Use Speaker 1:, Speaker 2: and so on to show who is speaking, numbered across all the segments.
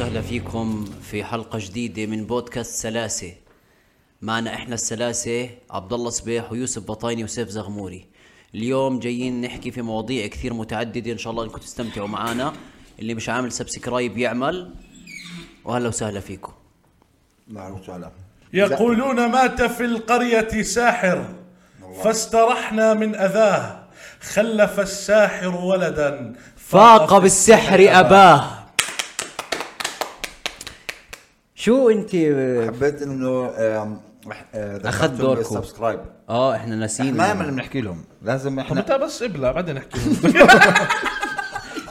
Speaker 1: فيكم في حلقة جديدة من بودكاست سلاسة معنا احنا السلاسة عبد الله صبيح ويوسف بطايني وسيف زغموري اليوم جايين نحكي في مواضيع كثير متعددة ان شاء الله انكم تستمتعوا معنا اللي مش عامل سبسكرايب يعمل واهلا وسهلا فيكم
Speaker 2: معروف على
Speaker 3: يقولون مات في القرية ساحر فاسترحنا من أذاه خلف الساحر ولدا
Speaker 1: فاق بالسحر اباه شو انت
Speaker 2: حبيت انه آم، رح- آه، ذكرتهم
Speaker 1: أخذ دوركم.
Speaker 2: بالسبسكرايب
Speaker 1: اه احنا ناسيين
Speaker 2: ما من بنحكي لهم لازم
Speaker 3: طب
Speaker 2: احنا
Speaker 3: متى بس ابلع بعدين نحكي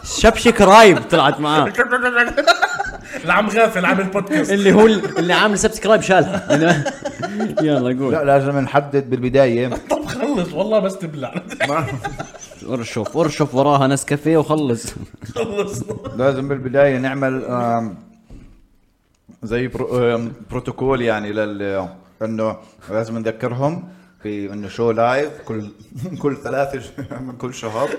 Speaker 1: شبشك رايب طلعت معاه
Speaker 3: العم غافل عامل بودكاست
Speaker 1: اللي هو اللي عامل سبسكرايب شالها يلا قول
Speaker 2: لا لازم نحدد بالبدايه
Speaker 3: طب خلص والله بس تبلع
Speaker 2: ما-
Speaker 1: ارشف ارشف وراها نسكافيه وخلص
Speaker 3: خلص
Speaker 2: لازم بالبدايه نعمل آم، زي برو- آم، بروتوكول يعني لل انه لازم نذكرهم في انه شو لايف كل كل ثلاث من كل شهر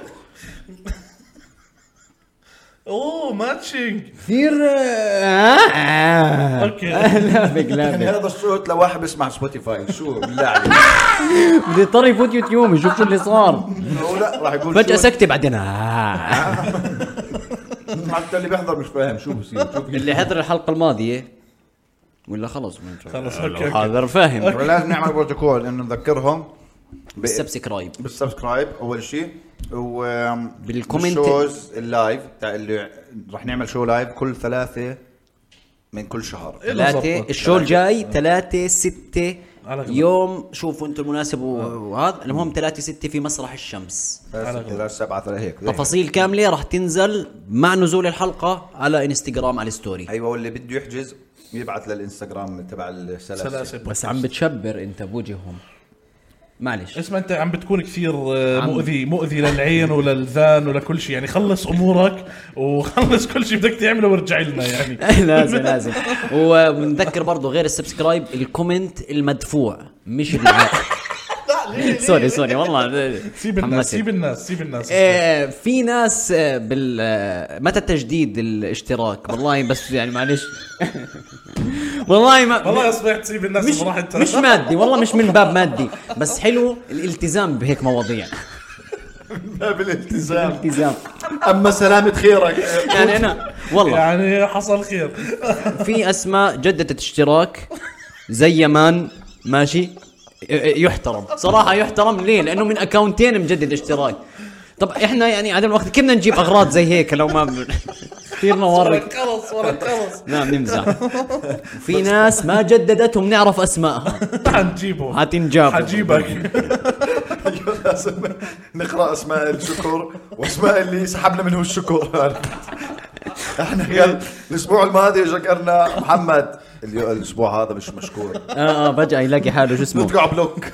Speaker 3: اوه ماتشنج
Speaker 1: كثير
Speaker 3: اوكي
Speaker 1: آه. لابق
Speaker 2: يعني
Speaker 1: لابق
Speaker 2: هذا الصوت لو واحد بيسمع سبوتيفاي شو بالله عليك
Speaker 1: بدي اضطر يفوت يوتيوب يشوف شو اللي صار
Speaker 2: هو لا راح يقول
Speaker 1: فجأة
Speaker 2: شو-
Speaker 1: سكتة بعدين آه.
Speaker 2: حتى اللي بيحضر مش فاهم شو بصير شو
Speaker 1: اللي حضر الحلقة الماضية ولا خلص ما نشوف.
Speaker 3: خلص، أوكي،
Speaker 1: لو
Speaker 3: أوكي.
Speaker 1: حاضر فاهم
Speaker 2: لازم نعمل بروتوكول انه نذكرهم ب-
Speaker 1: سبسكرايب
Speaker 2: بالسبسكرايب اول شيء و
Speaker 1: بالكومنت.
Speaker 2: بالشوز اللايف تاع اللي رح نعمل شو لايف كل ثلاثه من كل شهر
Speaker 1: إيه. ثلاثة الشو الجاي ثلاثة ستة
Speaker 3: على غلط.
Speaker 1: يوم شوفوا انتم المناسب و- وهذا المهم ثلاثة ستة في مسرح الشمس
Speaker 2: ثلاثة، ستة، ثلاثة، سبعة ثلاثة هيك
Speaker 1: تفاصيل كاملة راح تنزل مع نزول الحلقة على انستغرام على الستوري
Speaker 2: ايوه واللي بده يحجز يبعث للانستغرام تبع السلاسل
Speaker 3: سلاسل
Speaker 1: بس عم بتشبر انت بوجههم معلش
Speaker 3: اسمع انت عم بتكون كثير آه، مؤذي مؤذي للعين وللذان ولكل شيء يعني خلص امورك وخلص كل شيء بدك تعمله وارجع لنا يعني
Speaker 1: لازم لازم وبنذكر برضه غير السبسكرايب الكومنت المدفوع مش ال- سوري سوري والله
Speaker 3: سيب الناس
Speaker 1: حمست.
Speaker 3: سيب الناس سيب الناس
Speaker 1: آه، في ناس آه، بال آه، متى تجديد الاشتراك والله بس يعني معلش والله ما
Speaker 3: والله اصبحت سيب الناس
Speaker 1: مش
Speaker 3: براحتها
Speaker 1: مش مادي والله مش من باب مادي بس حلو الالتزام بهيك مواضيع
Speaker 2: بالالتزام
Speaker 1: التزام
Speaker 2: اما سلامة خيرك
Speaker 1: يعني انا والله
Speaker 3: يعني حصل خير
Speaker 1: في اسماء جددت اشتراك زي يمان ماشي يحترم صراحه يحترم ليه لانه من اكاونتين مجدد اشتراك طب احنا يعني عدم الوقت كيف بدنا نجيب اغراض زي هيك لو ما كثير نورك
Speaker 3: خلص ولا خلص
Speaker 1: نعم نمزح في ناس ما جددتهم نعرف اسمائها
Speaker 3: حنجيبه
Speaker 1: حتنجاب
Speaker 3: حجيبك
Speaker 2: أيوة، لازم نقرا اسماء الشكر واسماء اللي سحبنا منهم الشكر احنا قال الاسبوع الماضي شكرنا محمد اليو- الاسبوع هذا مش مشكور
Speaker 1: اه اه فجاه يلاقي حاله شو اسمه
Speaker 2: نرجع بلوك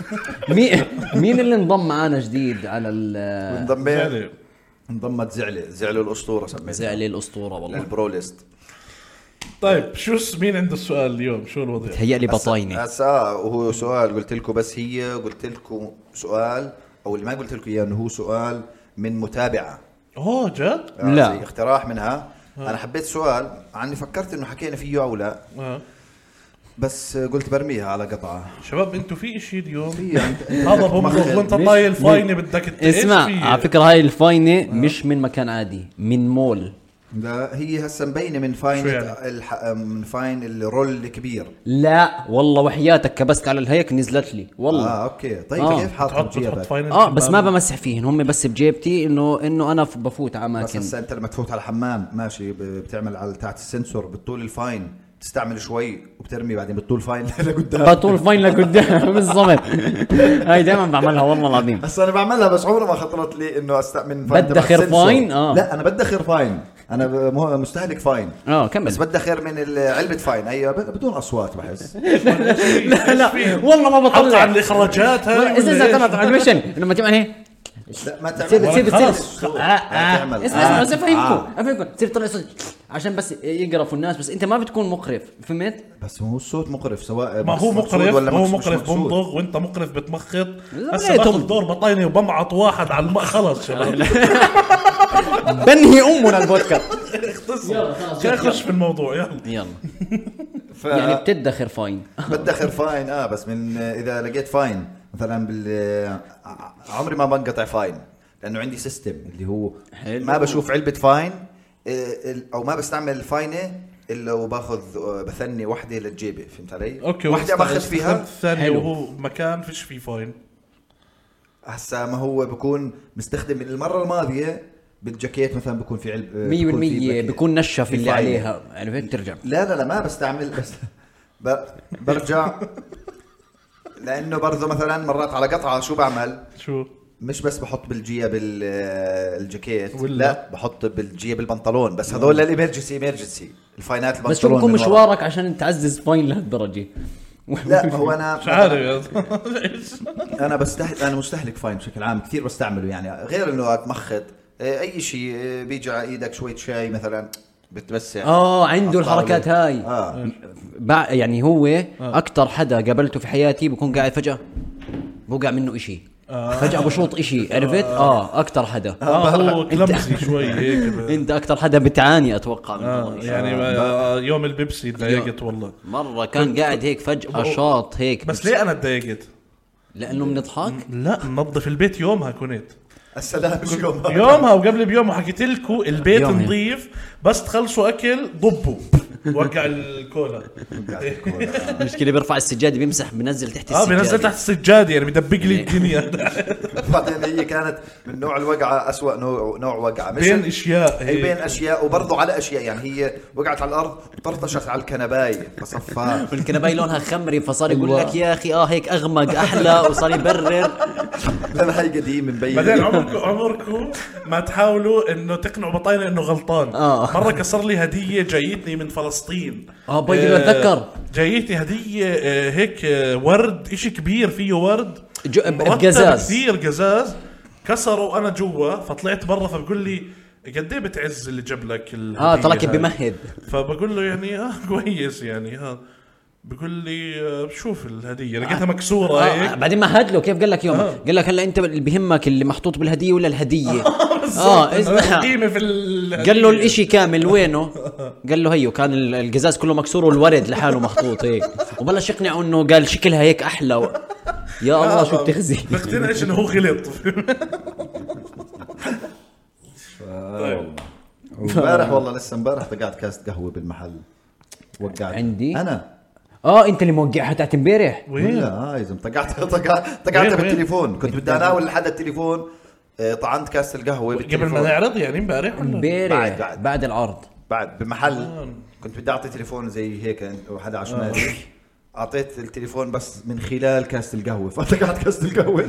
Speaker 1: مين مين اللي انضم معانا جديد على ال
Speaker 2: انضميت انضمت زعله زعله الاسطوره سميتها
Speaker 1: زعلي الاسطوره والله
Speaker 2: البرو ليست
Speaker 3: طيب شو س- مين عنده السؤال اليوم شو الوضع
Speaker 1: تهيأ لي بطاينه
Speaker 2: هسا وهو سؤال قلت لكم بس هي قلت لكم سؤال او اللي ما قلت لكم اياه انه هو سؤال من متابعه
Speaker 3: اوه جد
Speaker 2: آه،
Speaker 1: لا.
Speaker 2: زي اقتراح منها انا حبيت سؤال عني فكرت انه حكينا فيه او لا
Speaker 3: آه.
Speaker 2: بس قلت برميها على قطعه
Speaker 3: شباب انتوا في اشي اليوم
Speaker 2: هي أنت-
Speaker 3: هذا بمرض وانت طايل
Speaker 1: مش-
Speaker 3: فاينه بدك ت- إيش في؟
Speaker 1: اسمع على فكره هاي الفاينه مش من مكان عادي من مول
Speaker 2: لا هي هسه مبينه من فاين
Speaker 3: شو يعني؟
Speaker 2: الح... من فاين الرول الكبير
Speaker 1: لا والله وحياتك كبست على الهيك نزلت لي والله
Speaker 2: اه اوكي طيب
Speaker 1: آه.
Speaker 2: كيف حاطهم
Speaker 3: تحط تحط
Speaker 2: بجيبك
Speaker 3: فاينل
Speaker 1: اه بس ما بمسح فيهن هم بس بجيبتي انه انه انا ف- بفوت على
Speaker 2: بس
Speaker 1: اماكن
Speaker 2: هسه انت لما تفوت على الحمام ماشي ب- بتعمل على تحت السنسور بتطول الفاين تستعمل شوي وبترمي بعدين بتطول فاين لقدام
Speaker 1: بطول فاين لقدام بالضبط هاي دائما بعملها والله العظيم
Speaker 2: هسه انا بعملها بس عمره ما خطرت لي انه استعمل فاين تبع
Speaker 1: بدخر
Speaker 2: السنسور.
Speaker 1: فاين؟ آه.
Speaker 2: لا انا بدخر فاين انا ب- مه- مستهلك فاين
Speaker 1: اه كمل
Speaker 2: بس بدخر من ال- علبه فاين هي ب- بدون اصوات بحس
Speaker 3: لا
Speaker 1: لا والله ما
Speaker 3: حط
Speaker 1: بطلع
Speaker 3: عن الاخراجات هاي
Speaker 1: والله،
Speaker 3: ولا
Speaker 1: اسمع
Speaker 3: إيش؟
Speaker 1: اسمع طلعت مشن لما تعمل هيك
Speaker 2: لا ما تعمل
Speaker 1: تصير تصير تصير
Speaker 3: خلص،
Speaker 1: اسمع
Speaker 2: تعمل.
Speaker 1: آه، اسمع
Speaker 2: آه.
Speaker 1: بس افهمكم افهمكم تصير طلع صوت عشان بس يقرفوا الناس بس انت ما بتكون مقرف فهمت؟
Speaker 2: بس هو الصوت مقرف سواء
Speaker 3: ما هو
Speaker 2: مقصود
Speaker 3: مقرف
Speaker 2: ولا
Speaker 3: هو
Speaker 2: مش- مش
Speaker 3: مقرف
Speaker 2: مقصود.
Speaker 3: بمضغ وانت مقرف بتمخط
Speaker 1: لا،
Speaker 3: هسه
Speaker 1: ليه
Speaker 3: باخذ
Speaker 1: تم-
Speaker 3: دور بطاينه وبمعط واحد على الم... خلص شباب
Speaker 1: بنهي امنا البودكاست
Speaker 3: يلا خلاص خش في الموضوع يلا
Speaker 1: يلا
Speaker 2: ف...
Speaker 1: يعني بتدخر فاين
Speaker 2: بدخر فاين اه بس من اذا لقيت فاين مثلا بال آه، عمري ما بنقطع فاين لانه عندي سيستم اللي هو
Speaker 1: حلو.
Speaker 2: ما بشوف علبه فاين آه، ال- او ما بستعمل الفاينه الا وباخذ آه، بثني وحده للجيبه فهمت علي؟
Speaker 3: اوكي
Speaker 2: وحده باخذ
Speaker 3: واستخدمت
Speaker 2: فيها
Speaker 3: الثانيه
Speaker 1: حلو.
Speaker 3: وهو مكان فيش فيه فاين
Speaker 2: هسا ما هو بكون مستخدم من المره الماضيه بالجاكيت مثلا بكون في علب آه، بكون في
Speaker 1: 100%
Speaker 2: باكيت.
Speaker 1: بكون نشف اللي
Speaker 2: فاين.
Speaker 1: عليها عرفت ترجع
Speaker 2: لا لا لا ما بستعمل بس ب- برجع لانه برضه مثلا مرات على قطعه شو بعمل؟
Speaker 3: شو
Speaker 2: مش بس بحط بالجيب ال- آه، الجاكيت
Speaker 3: ولا-
Speaker 2: لا بحط بالجيب البنطلون بس هذول للامرجنسي امرجنسي الفاينات البنطلون
Speaker 1: بس شو بكون
Speaker 2: من ورا.
Speaker 1: مشوارك عشان تعزز فاين لهالدرجه
Speaker 2: لا هو انا
Speaker 3: مش عارف
Speaker 2: انا بستهلك انا مستهلك فاين بشكل عام كثير بستعمله يعني غير انه اتمخض آه، اي شيء آه، بيجي على ايدك شويه شاي مثلا بتوسع
Speaker 1: اه عنده
Speaker 2: أطلع
Speaker 1: الحركات
Speaker 2: له.
Speaker 1: هاي
Speaker 2: اه
Speaker 1: بع... يعني هو اكثر حدا قابلته في حياتي بكون قاعد فجاه بوقع منه اشي فجاه بشوط اشي عرفت اه اكثر حدا
Speaker 3: اه هو كلمسي شوي هيك
Speaker 1: انت اكثر حدا بتعاني اتوقع من
Speaker 3: آه،
Speaker 1: هذا الإشي.
Speaker 3: يعني آه، يوم البيبسي تضايقت والله
Speaker 1: مره كان قاعد هيك فجاه شاط هيك
Speaker 3: بس ليه انا تضايقت؟
Speaker 1: لانه بنضحك
Speaker 3: لا نظف البيت يومها كنت
Speaker 2: السلام شو يوم
Speaker 3: يومها وقبل بيوم وحكيت لكم البيت
Speaker 1: يومها.
Speaker 3: نظيف بس تخلصوا اكل ضبوا وقع الكولا
Speaker 1: المشكله بيرفع السجاده بيمسح بنزل تحت
Speaker 3: اه
Speaker 1: السجاده
Speaker 3: بنزل تحت السجاده يعني بدبق لي الدنيا
Speaker 2: بعدين هي كانت من نوع الوقعه اسوء نوع نوع وقعه مش
Speaker 3: بين اشياء
Speaker 2: هي بين
Speaker 3: هيك.
Speaker 2: اشياء وبرضه على اشياء يعني هي وقعت على الارض طرطشت على الكنبايه فصفاها
Speaker 1: والكنباي لونها خمري فصار يقول
Speaker 3: أيوة.
Speaker 1: لك يا اخي اه هيك اغمق احلى وصار يبرر
Speaker 2: لا هي قديمه مبين
Speaker 3: بعدين عمركم عمركم ما تحاولوا انه تقنعوا بطاينه انه غلطان
Speaker 1: آه.
Speaker 3: مره كسر لي هديه جايتني من فلسطين
Speaker 1: آه، باي ما أتذكر.
Speaker 3: جايتني هديه آه، هيك آه، ورد إشي كبير فيه ورد
Speaker 1: جو- ب-
Speaker 3: مرتب
Speaker 1: بقزاز.
Speaker 3: كثير قزاز كسروا انا جوا فطلعت برا فبقول لي قد ايه بتعز اللي جاب لك الهديه
Speaker 1: اه طلعك
Speaker 3: هاي؟
Speaker 1: بمهد
Speaker 3: فبقول له يعني اه كويس يعني ها بقول لي آه، شوف الهديه لقيتها مكسوره
Speaker 1: آه
Speaker 3: هيك
Speaker 1: بعدين مهد له كيف قال لك يوم
Speaker 3: آه.
Speaker 1: قال لك هلا انت اللي بهمك اللي محطوط بالهديه ولا الهديه
Speaker 3: بالظبط،
Speaker 1: اسمع.
Speaker 3: القيمه في ال-
Speaker 1: آه، قال له الاشي كامل وينه قال له هيو كان ال- القزاز كله مكسور والورد لحاله محطوط هيك وبلش يقنعه انه قال شكلها هيك احلى و...
Speaker 3: آه.
Speaker 1: يا الله شو بتخزي
Speaker 3: بقتنعش انه هو غلط
Speaker 2: امبارح والله لسه امبارح طقعت كاسه قهوه بالمحل وقعت
Speaker 1: عندي؟
Speaker 2: انا
Speaker 1: اه انت اللي موقعها تاعت امبارح
Speaker 3: وين؟
Speaker 2: لا اه يا زلمه طقعت
Speaker 3: وين-
Speaker 2: طقعتها
Speaker 3: وين؟
Speaker 2: بالتليفون كنت بدي اناول لحد التليفون آه، طعنت كاسه القهوه
Speaker 3: قبل ما
Speaker 2: بالتليفون
Speaker 3: نعرض يعني امبارح ولا؟
Speaker 2: بعد-
Speaker 1: امبارح
Speaker 2: بعد.
Speaker 1: بعد العرض
Speaker 2: بعد
Speaker 3: آه.
Speaker 2: بمحل كنت بدي اعطي تليفون زي هيك وحدا على شمالي اعطيت التليفون بس من خلال كاسه القهوه فطقعت كاسه القهوه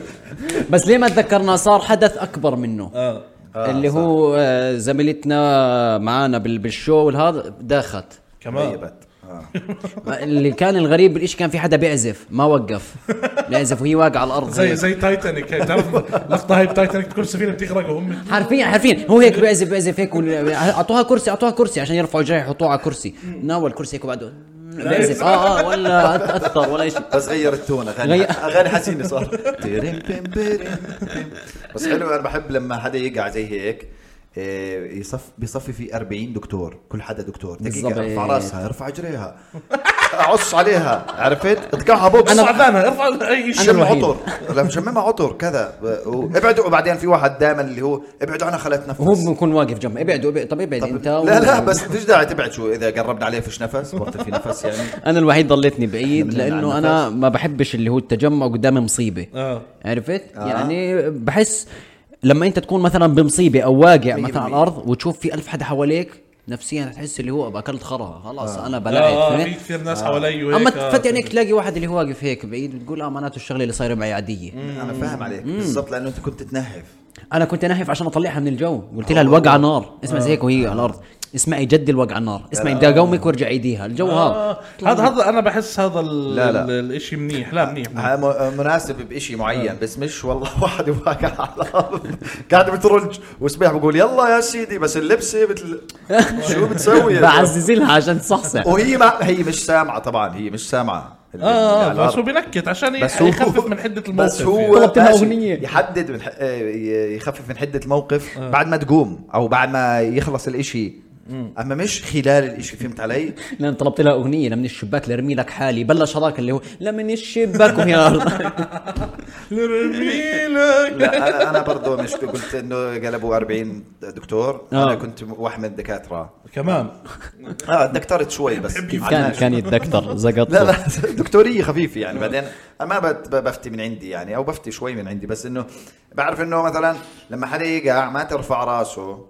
Speaker 1: بس ليه ما تذكرنا صار حدث اكبر منه
Speaker 3: اه
Speaker 2: آه،
Speaker 1: اللي
Speaker 2: صح.
Speaker 1: هو آه، زميلتنا معانا بال- بالشو والهذا داخت
Speaker 3: كمان
Speaker 2: طيبت. آه.
Speaker 1: اللي كان الغريب بالإشي كان في حدا بيعزف ما وقف بيعزف وهي واقعه على الارض
Speaker 3: زي
Speaker 1: هيك.
Speaker 3: زي تايتانيك هي تعرف اللقطه هاي بتايتانيك تكون السفينه بتغرق وهم
Speaker 1: حرفيا حرفيا هو هيك بيعزف بيعزف هيك وال- اعطوها كرسي اعطوها كرسي عشان يرفعوا جرح يحطوه على كرسي ناول كرسي هيك وبعده بيعزف اه اه ولا اثر ولا شيء
Speaker 2: بس غير التون اغاني
Speaker 1: غير-
Speaker 2: اغاني حزينه صار تيرم بيم بيرم بيم. بس حلو انا بحب لما حدا يقع زي هيك إيه، يصف بيصفي في 40 دكتور كل حدا دكتور دقيقه
Speaker 1: بالضبط.
Speaker 2: ارفع راسها ارفع جريها عص عليها عرفت اطقعها بوكس
Speaker 3: انا تعبانه ارفع اي
Speaker 1: أنا
Speaker 3: شيء
Speaker 2: شم
Speaker 1: الوحيد.
Speaker 2: عطر لما شممها عطر كذا ب- و- ابعدوا وبعدين في واحد دائما اللي هو ابعدوا عنها خلت
Speaker 1: وهو
Speaker 2: نفس
Speaker 1: بيكون واقف جنبه ابعدوا ابعد طب ابعد انت
Speaker 2: لا لا بس فيش داعي تبعد شو اذا قربنا عليه فيش نفس وقت في نفس يعني
Speaker 1: انا الوحيد ضليتني بعيد
Speaker 2: إحنا
Speaker 1: لانه
Speaker 2: بنلعب
Speaker 1: انا
Speaker 2: نفس.
Speaker 1: ما بحبش اللي هو التجمع قدام مصيبه
Speaker 3: اه
Speaker 1: عرفت
Speaker 2: آه.
Speaker 1: يعني بحس لما انت تكون مثلا بمصيبه او واقع مثلا
Speaker 2: مية
Speaker 1: على
Speaker 2: بالمية.
Speaker 1: الارض وتشوف في ألف حدا حواليك نفسيا تحس اللي هو اكلت خرا خلاص
Speaker 2: آه.
Speaker 1: انا بلعت
Speaker 3: اه في
Speaker 1: فهمت؟
Speaker 3: كثير ناس حوالي وهيك
Speaker 1: اما
Speaker 3: آه.
Speaker 1: تفتح عينيك تلاقي واحد اللي هو واقف هيك بعيد بتقول اه معناته الشغله اللي صايره معي عاديه
Speaker 2: انا فاهم عليك بالضبط لانه انت كنت تنهف
Speaker 1: انا كنت ناهف عشان اطلعها من الجو قلت
Speaker 2: آه،
Speaker 1: لها الوقعه نار اسمع زي هيك وهي على الارض اسمعي جد الوقعه نار اسمعي بدي اقومك وارجع ايديها الجو هذا
Speaker 3: آه، هذا هذا انا بحس هذا ال-
Speaker 2: لا، لا.
Speaker 3: ال- الاشي منيح لا منيح منيح.
Speaker 2: ها م- مناسب بشيء معين بس مش والله واحد واقع على الارض قاعد بترج وصبيح بقول يلا يا سيدي بس اللبسه مثل شو بتسوي يا زلمة؟
Speaker 1: بعزز لها عشان تصحصح
Speaker 2: وهي ما هي مش سامعه طبعا هي مش سامعه اللي- اللي
Speaker 3: اه
Speaker 2: على
Speaker 3: بس هو
Speaker 2: الأرض.
Speaker 3: بينكت عشان يخفف من حده الموقف
Speaker 2: بس هو
Speaker 1: يعني. طلبت منها
Speaker 2: ماشي،
Speaker 1: أغنية.
Speaker 2: يحدد
Speaker 3: آه.
Speaker 2: من ح... آه، ي- يخفف من حده الموقف بعد ما تقوم او بعد ما يخلص الاشي اما مش خلال الاشي فهمت علي؟
Speaker 1: لان طلبت لها اغنيه لمن الشباك لارمي لك حالي بلش هذاك اللي هو لمن الشباك وهي أرض.
Speaker 3: يعني. لرميلك
Speaker 2: لا انا انا برضه مش قلت انه قلبوا 40 دكتور انا
Speaker 1: آه.
Speaker 2: كنت واحد من الدكاتره
Speaker 3: كمان
Speaker 2: اه دكترت شوي بس كيف
Speaker 1: كان كان يتذكر زقط
Speaker 2: لا لا دكتوريه خفيفه يعني بعدين أنا ما بت- ب- بفتي من عندي يعني او بفتي شوي من عندي بس انه بعرف انه مثلا لما حدا يقع ما ترفع راسه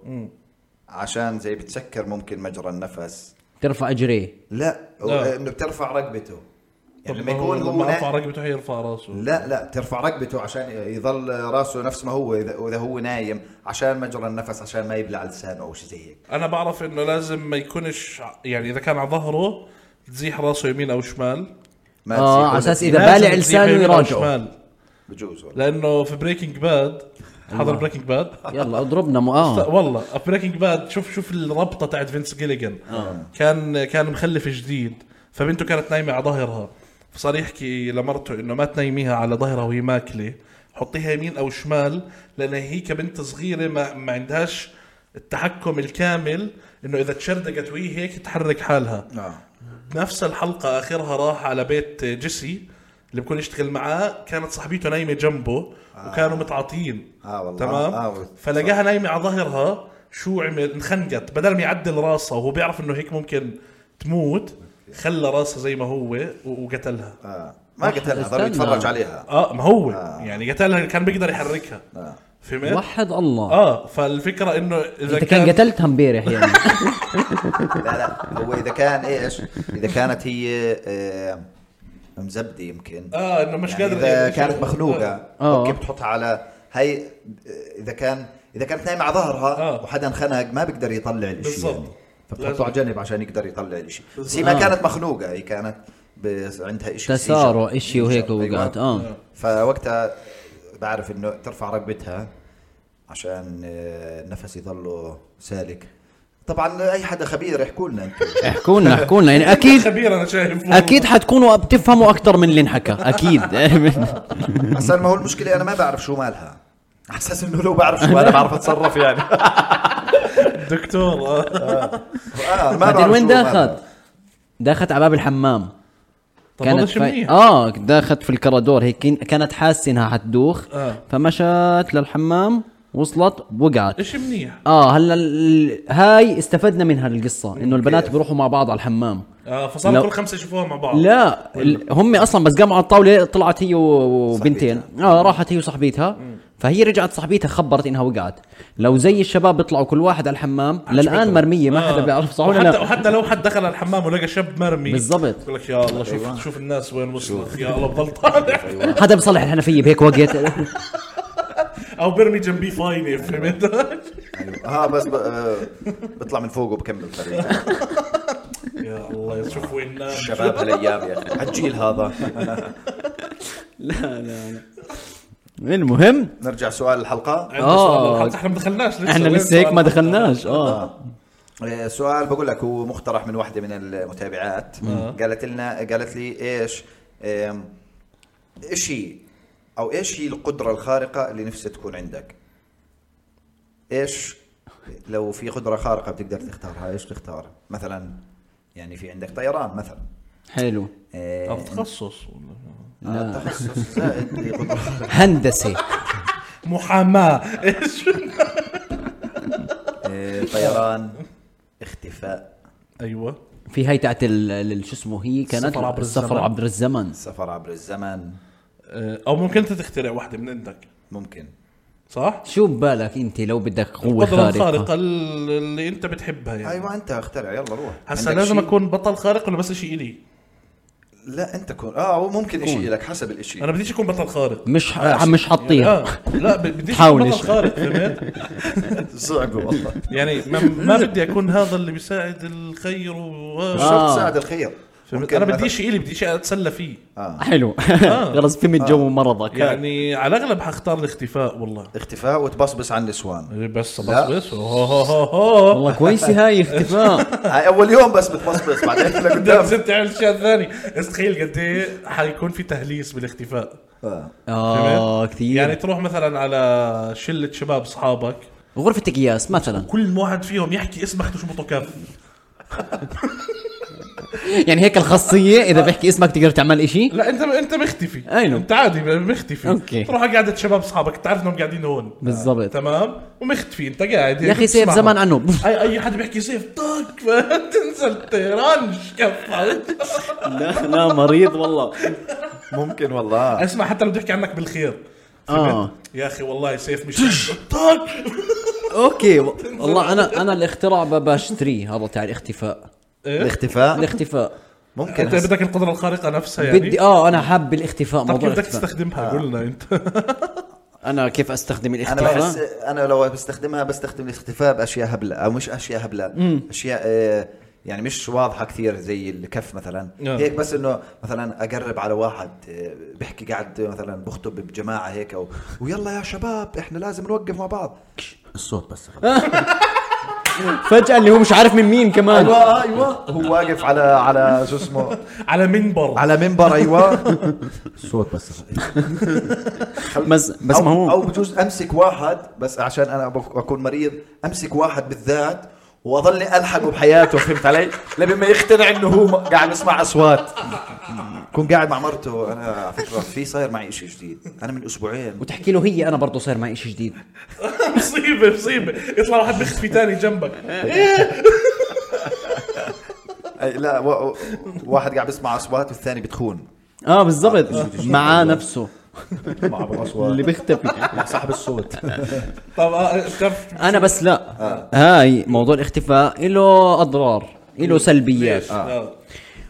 Speaker 2: عشان زي بتسكر ممكن مجرى النفس
Speaker 1: ترفع اجريه
Speaker 2: لا
Speaker 3: لا.
Speaker 2: انه بترفع ركبته
Speaker 3: طب
Speaker 2: يعني لما يكون هو
Speaker 3: لما ارفع
Speaker 2: نا...
Speaker 3: رقبته حيرفع راسه
Speaker 2: لا لا ترفع ركبته عشان يظل راسه نفس ما هو اذا إذا هو نايم عشان مجرى النفس عشان ما يبلع لسانه او شيء زي هيك
Speaker 3: انا بعرف انه لازم ما يكونش ع- يعني اذا كان على ظهره تزيح راسه يمين او شمال
Speaker 1: آه،
Speaker 2: ما تصير
Speaker 1: على أساس إذا
Speaker 2: ولا-
Speaker 1: بالع
Speaker 3: لازم تزيح
Speaker 1: لسانه
Speaker 3: يمين أو
Speaker 1: يراجعه.
Speaker 3: شمال.
Speaker 2: بجوز والله
Speaker 3: لانه في بريكنج باد حضر بريكنج باد
Speaker 1: يلا اضربنا مو اه
Speaker 3: والله بريكنج باد شوف شوف الربطه تاعت فينس جيليجان كان كان مخلف جديد فبنته كانت نايمه على ظهرها فصار يحكي لمرته انه ما تنيميها على ظهرها وهي ماكله حطيها يمين او شمال لان هي كبنت صغيره ما, ما عندهاش التحكم الكامل انه اذا تشردقت وهي هيك تحرك حالها
Speaker 2: آه.
Speaker 3: نفس الحلقة آخرها راح على بيت جيسي اللي بكون يشتغل معاه كانت صاحبته نايمة جنبه وكانوا متعاطين
Speaker 2: آه والله.
Speaker 3: تمام
Speaker 2: آه والله.
Speaker 3: فلقاها نايمة على ظهرها شو عمل انخنقت بدل ما يعدل راسها وهو بيعرف انه هيك ممكن تموت خلى راسها زي ما هو و- وقتلها
Speaker 2: آه. ما قتلها
Speaker 1: استنى.
Speaker 2: ضل يتفرج عليها
Speaker 3: اه ما هو يعني قتلها كان بيقدر يحركها
Speaker 2: آه.
Speaker 3: فهمت؟
Speaker 1: وحد الله
Speaker 3: اه فالفكرة انه اذا
Speaker 1: انت كان
Speaker 3: كان
Speaker 1: قتلتها امبارح يعني
Speaker 2: لا لا هو اذا كان ايش اذا كانت هي آه، مزبده يمكن
Speaker 3: اه انه مش قادر
Speaker 2: اذا
Speaker 3: مش-
Speaker 2: كانت مخنوقه
Speaker 1: آه.
Speaker 2: اوكي بتحطها على هي اذا كان اذا كانت نايمه على ظهرها
Speaker 3: آه.
Speaker 2: وحدا انخنق ما بيقدر يطلع الاشي
Speaker 3: بالضبط.
Speaker 2: يعني
Speaker 3: لازم.
Speaker 2: فبتحطه على جنب عشان يقدر يطلع الاشي بس هي ما
Speaker 1: آه.
Speaker 2: كانت مخنوقه هي كانت بس عندها اشي
Speaker 1: تسارع
Speaker 2: seizure.
Speaker 1: اشي وهيك
Speaker 2: seizure،
Speaker 1: وقعت
Speaker 2: أيوة.
Speaker 1: اه
Speaker 2: فوقتها بعرف انه ترفع رقبتها عشان آه، النفس يضله سالك طبعا اي حدا خبير يحكوا لنا انتم
Speaker 1: احكوا لنا احكوا لنا يعني اكيد
Speaker 3: خبير انا شايف
Speaker 1: اكيد حتكونوا بتفهموا اكثر من اللي انحكى اكيد
Speaker 2: اصلا ما هو المشكله انا ما بعرف شو مالها على اساس انه لو بعرف شو مالها بعرف اتصرف يعني
Speaker 3: دكتور آه.
Speaker 2: آه، ما
Speaker 1: بعدين
Speaker 2: بعرف
Speaker 1: وين
Speaker 2: شو مالها.
Speaker 1: داخت؟ داخت على باب الحمام
Speaker 3: طب هذا
Speaker 1: كانت
Speaker 3: شيء
Speaker 1: في...
Speaker 3: منيح.
Speaker 1: اه داخت في الكرادور هي كن- كانت حاسه انها حتدوخ
Speaker 3: آه.
Speaker 1: فمشت للحمام وصلت وقعت
Speaker 3: اشي منيح
Speaker 1: اه هلا ال- هاي استفدنا منها القصه انه البنات بيروحوا مع بعض على الحمام
Speaker 3: آه فصار
Speaker 1: لو-
Speaker 3: كل خمسه يشوفوها مع بعض
Speaker 1: لا ال- هم اصلا بس قاموا على الطاوله طلعت هي و- وبنتين اه راحت هي وصاحبتها فهي رجعت صاحبتها خبرت انها وقعت لو زي الشباب بيطلعوا كل واحد على الحمام للان مرميه ما حدا بيعرف صح ولا
Speaker 3: آه. وحتى
Speaker 1: لا
Speaker 3: وحتى لو حد دخل على الحمام ولقى شاب مرمي
Speaker 1: بالضبط.
Speaker 3: يقول لك يا الله شوف
Speaker 2: أيوة.
Speaker 3: شوف الناس وين وصلت يا الله بضل طالع
Speaker 1: حدا بيصلح الحنفيه بهيك وقت
Speaker 3: او برمي جنبي فاينه فهمت
Speaker 2: أيوة. اه بس ب... آه، بطلع من فوق وبكمل طريق
Speaker 3: يا الله شوف وين الناس
Speaker 2: شباب هالايام يا اخي الجيل هذا
Speaker 1: المهم
Speaker 2: نرجع سؤال الحلقه
Speaker 3: عندنا سؤال
Speaker 1: آه.
Speaker 3: للحلقة. احنا ما دخلناش لسه
Speaker 1: احنا
Speaker 3: وين
Speaker 1: لسه هيك
Speaker 3: سؤال
Speaker 1: ما
Speaker 3: الحلقة؟
Speaker 1: دخلناش اه
Speaker 2: آه، سؤال بقول لك هو مقترح من واحده من المتابعات
Speaker 3: آه.
Speaker 2: قالت لنا قالت لي ايش آم، ايش هي او ايش هي القدره الخارقه اللي نفسها تكون عندك ايش لو في قدره خارقه بتقدر تختارها ايش تختار مثلا يعني في عندك طيران مثلا
Speaker 1: حلو
Speaker 2: آه،
Speaker 3: آه، تخصص
Speaker 2: آه، تخصص زائد لقدرة خارقة.
Speaker 1: هندسه
Speaker 3: محاماه ايش
Speaker 2: آه، طيران اختفاء
Speaker 3: ايوه
Speaker 1: في هاي تاعت ال- ال- شو اسمه هي كانت
Speaker 3: السفر عبر
Speaker 1: السفر
Speaker 3: الزمن.
Speaker 1: عبر الزمن
Speaker 2: سفر عبر الزمن
Speaker 3: آه، او ممكن انت تخترع واحده من عندك
Speaker 2: ممكن
Speaker 3: صح؟
Speaker 1: شو ببالك انت لو بدك قوه
Speaker 3: القدرة
Speaker 1: خارقه
Speaker 3: الخارقة اللي انت بتحبها يعني
Speaker 2: ايوه انت اخترع يلا روح
Speaker 3: هسا
Speaker 2: عندك
Speaker 3: لازم
Speaker 2: شيء؟
Speaker 3: اكون بطل خارق ولا بس اشي الي؟
Speaker 2: لا انت كون اه هو ممكن شيء لك حسب الشيء
Speaker 3: انا بديش اكون بطل خارق
Speaker 1: مش ح- مش حاطيها
Speaker 3: آه لا ب- بديش
Speaker 1: حاول
Speaker 3: أكون بطل
Speaker 1: إيش.
Speaker 3: خارق فهمت
Speaker 2: صعب والله
Speaker 3: يعني ما, ما بدي اكون هذا اللي بيساعد الخير
Speaker 2: مش
Speaker 3: و...
Speaker 1: آه.
Speaker 2: شرط ساعد الخير
Speaker 3: آه. فهمت انا بدي
Speaker 2: مثلاً-
Speaker 3: شيء الي بدي شيء اتسلى فيه
Speaker 1: حلو خلص فهمت جو مرضك
Speaker 3: آه. يعني على الاغلب حختار الاختفاء والله إيه،
Speaker 2: اختفاء وتبصبص عن النسوان
Speaker 3: بس بس
Speaker 2: لا.
Speaker 3: بس هو هو هو هو.
Speaker 1: والله كويسه هاي اختفاء
Speaker 2: هاي اول يوم بس بتبصبص بعدين
Speaker 3: بدك
Speaker 2: لقدام
Speaker 3: تصير تعمل شيء ثاني استخيل قد ايه حيكون في تهليس بالاختفاء
Speaker 2: آه.
Speaker 1: اه كثير
Speaker 3: يعني تروح مثلا على شله شباب اصحابك
Speaker 1: غرفه قياس مثلا
Speaker 3: كل واحد فيهم يحكي اسمه اخته شو كف
Speaker 1: يعني هيك الخاصيه
Speaker 3: آه.
Speaker 1: اذا بحكي اسمك تقدر تعمل إشي
Speaker 3: لا انت انت مختفي
Speaker 1: I know.
Speaker 3: انت عادي مختفي
Speaker 1: نعم. أوكي.
Speaker 3: تروح على قعده شباب اصحابك تعرف انهم قاعدين هون
Speaker 1: بالضبط
Speaker 3: تمام ومختفي انت قاعد
Speaker 1: يا اخي سيف
Speaker 3: بتسمعهم.
Speaker 1: زمان عنه
Speaker 3: اي اي حد بيحكي سيف طق تنزل طيران كفا
Speaker 1: لا لا مريض والله
Speaker 2: ممكن والله
Speaker 3: اسمع حتى لو بتحكي عنك بالخير
Speaker 1: اه
Speaker 3: يا اخي والله سيف مش طق
Speaker 1: اوكي والله انا انا الاختراع ب- بشتريه هذا تاع الاختفاء
Speaker 3: إيه؟
Speaker 2: الاختفاء
Speaker 1: الاختفاء
Speaker 2: ممكن
Speaker 3: انت بدك القدره الخارقه نفسها يعني
Speaker 1: بدي اه انا حاب الاختفاء
Speaker 3: طب
Speaker 1: موضوع آه.
Speaker 3: كيف بدك
Speaker 1: الاختفاء
Speaker 3: تستخدمها قلنا انت
Speaker 1: انا كيف استخدم
Speaker 2: انا بحس
Speaker 1: الاختفاء
Speaker 2: انا لو بستخدمها بستخدم الاختفاء باشياء هبله او مش اشياء هبله اشياء آه، يعني مش واضحه كثير زي الكف مثلا
Speaker 3: آه.
Speaker 2: هيك بس انه مثلا اقرب على واحد آه، بحكي قاعد مثلا بخطب بجماعه هيك او ويلا يا شباب احنا لازم نوقف مع بعض الصوت بس
Speaker 1: فجاه اللي هو مش عارف من مين كمان
Speaker 2: ايوه ايوه هو واقف على على شو اسمه
Speaker 3: على
Speaker 1: آه.
Speaker 3: منبر
Speaker 2: على منبر ايوه الصوت بس
Speaker 1: بس بس
Speaker 2: أو-
Speaker 1: ما هو
Speaker 2: او بجوز امسك واحد بس عشان انا أبك- اكون مريض امسك واحد بالذات واضلني الحقه بحياته فهمت علي؟ لما يقتنع انه هو م- قاعد يسمع اصوات كون قاعد مع مرته انا على فكره في صاير معي شيء جديد انا من اسبوعين
Speaker 1: وتحكي له هي انا برضه صاير معي شيء جديد
Speaker 3: مصيبه مصيبه يطلع واحد مختفي تاني جنبك
Speaker 2: أي- لا و... و- واحد قاعد بيسمع اصوات والثاني بتخون
Speaker 1: اه بالضبط مع نفسه
Speaker 2: مع أبو
Speaker 1: اللي
Speaker 2: اصوات
Speaker 1: بيختفي
Speaker 2: مع صاحب الصوت
Speaker 3: طب آه، بتعرف
Speaker 1: انا بس لا هاي موضوع الاختفاء له اضرار له سلبيات
Speaker 3: ليش؟ آه.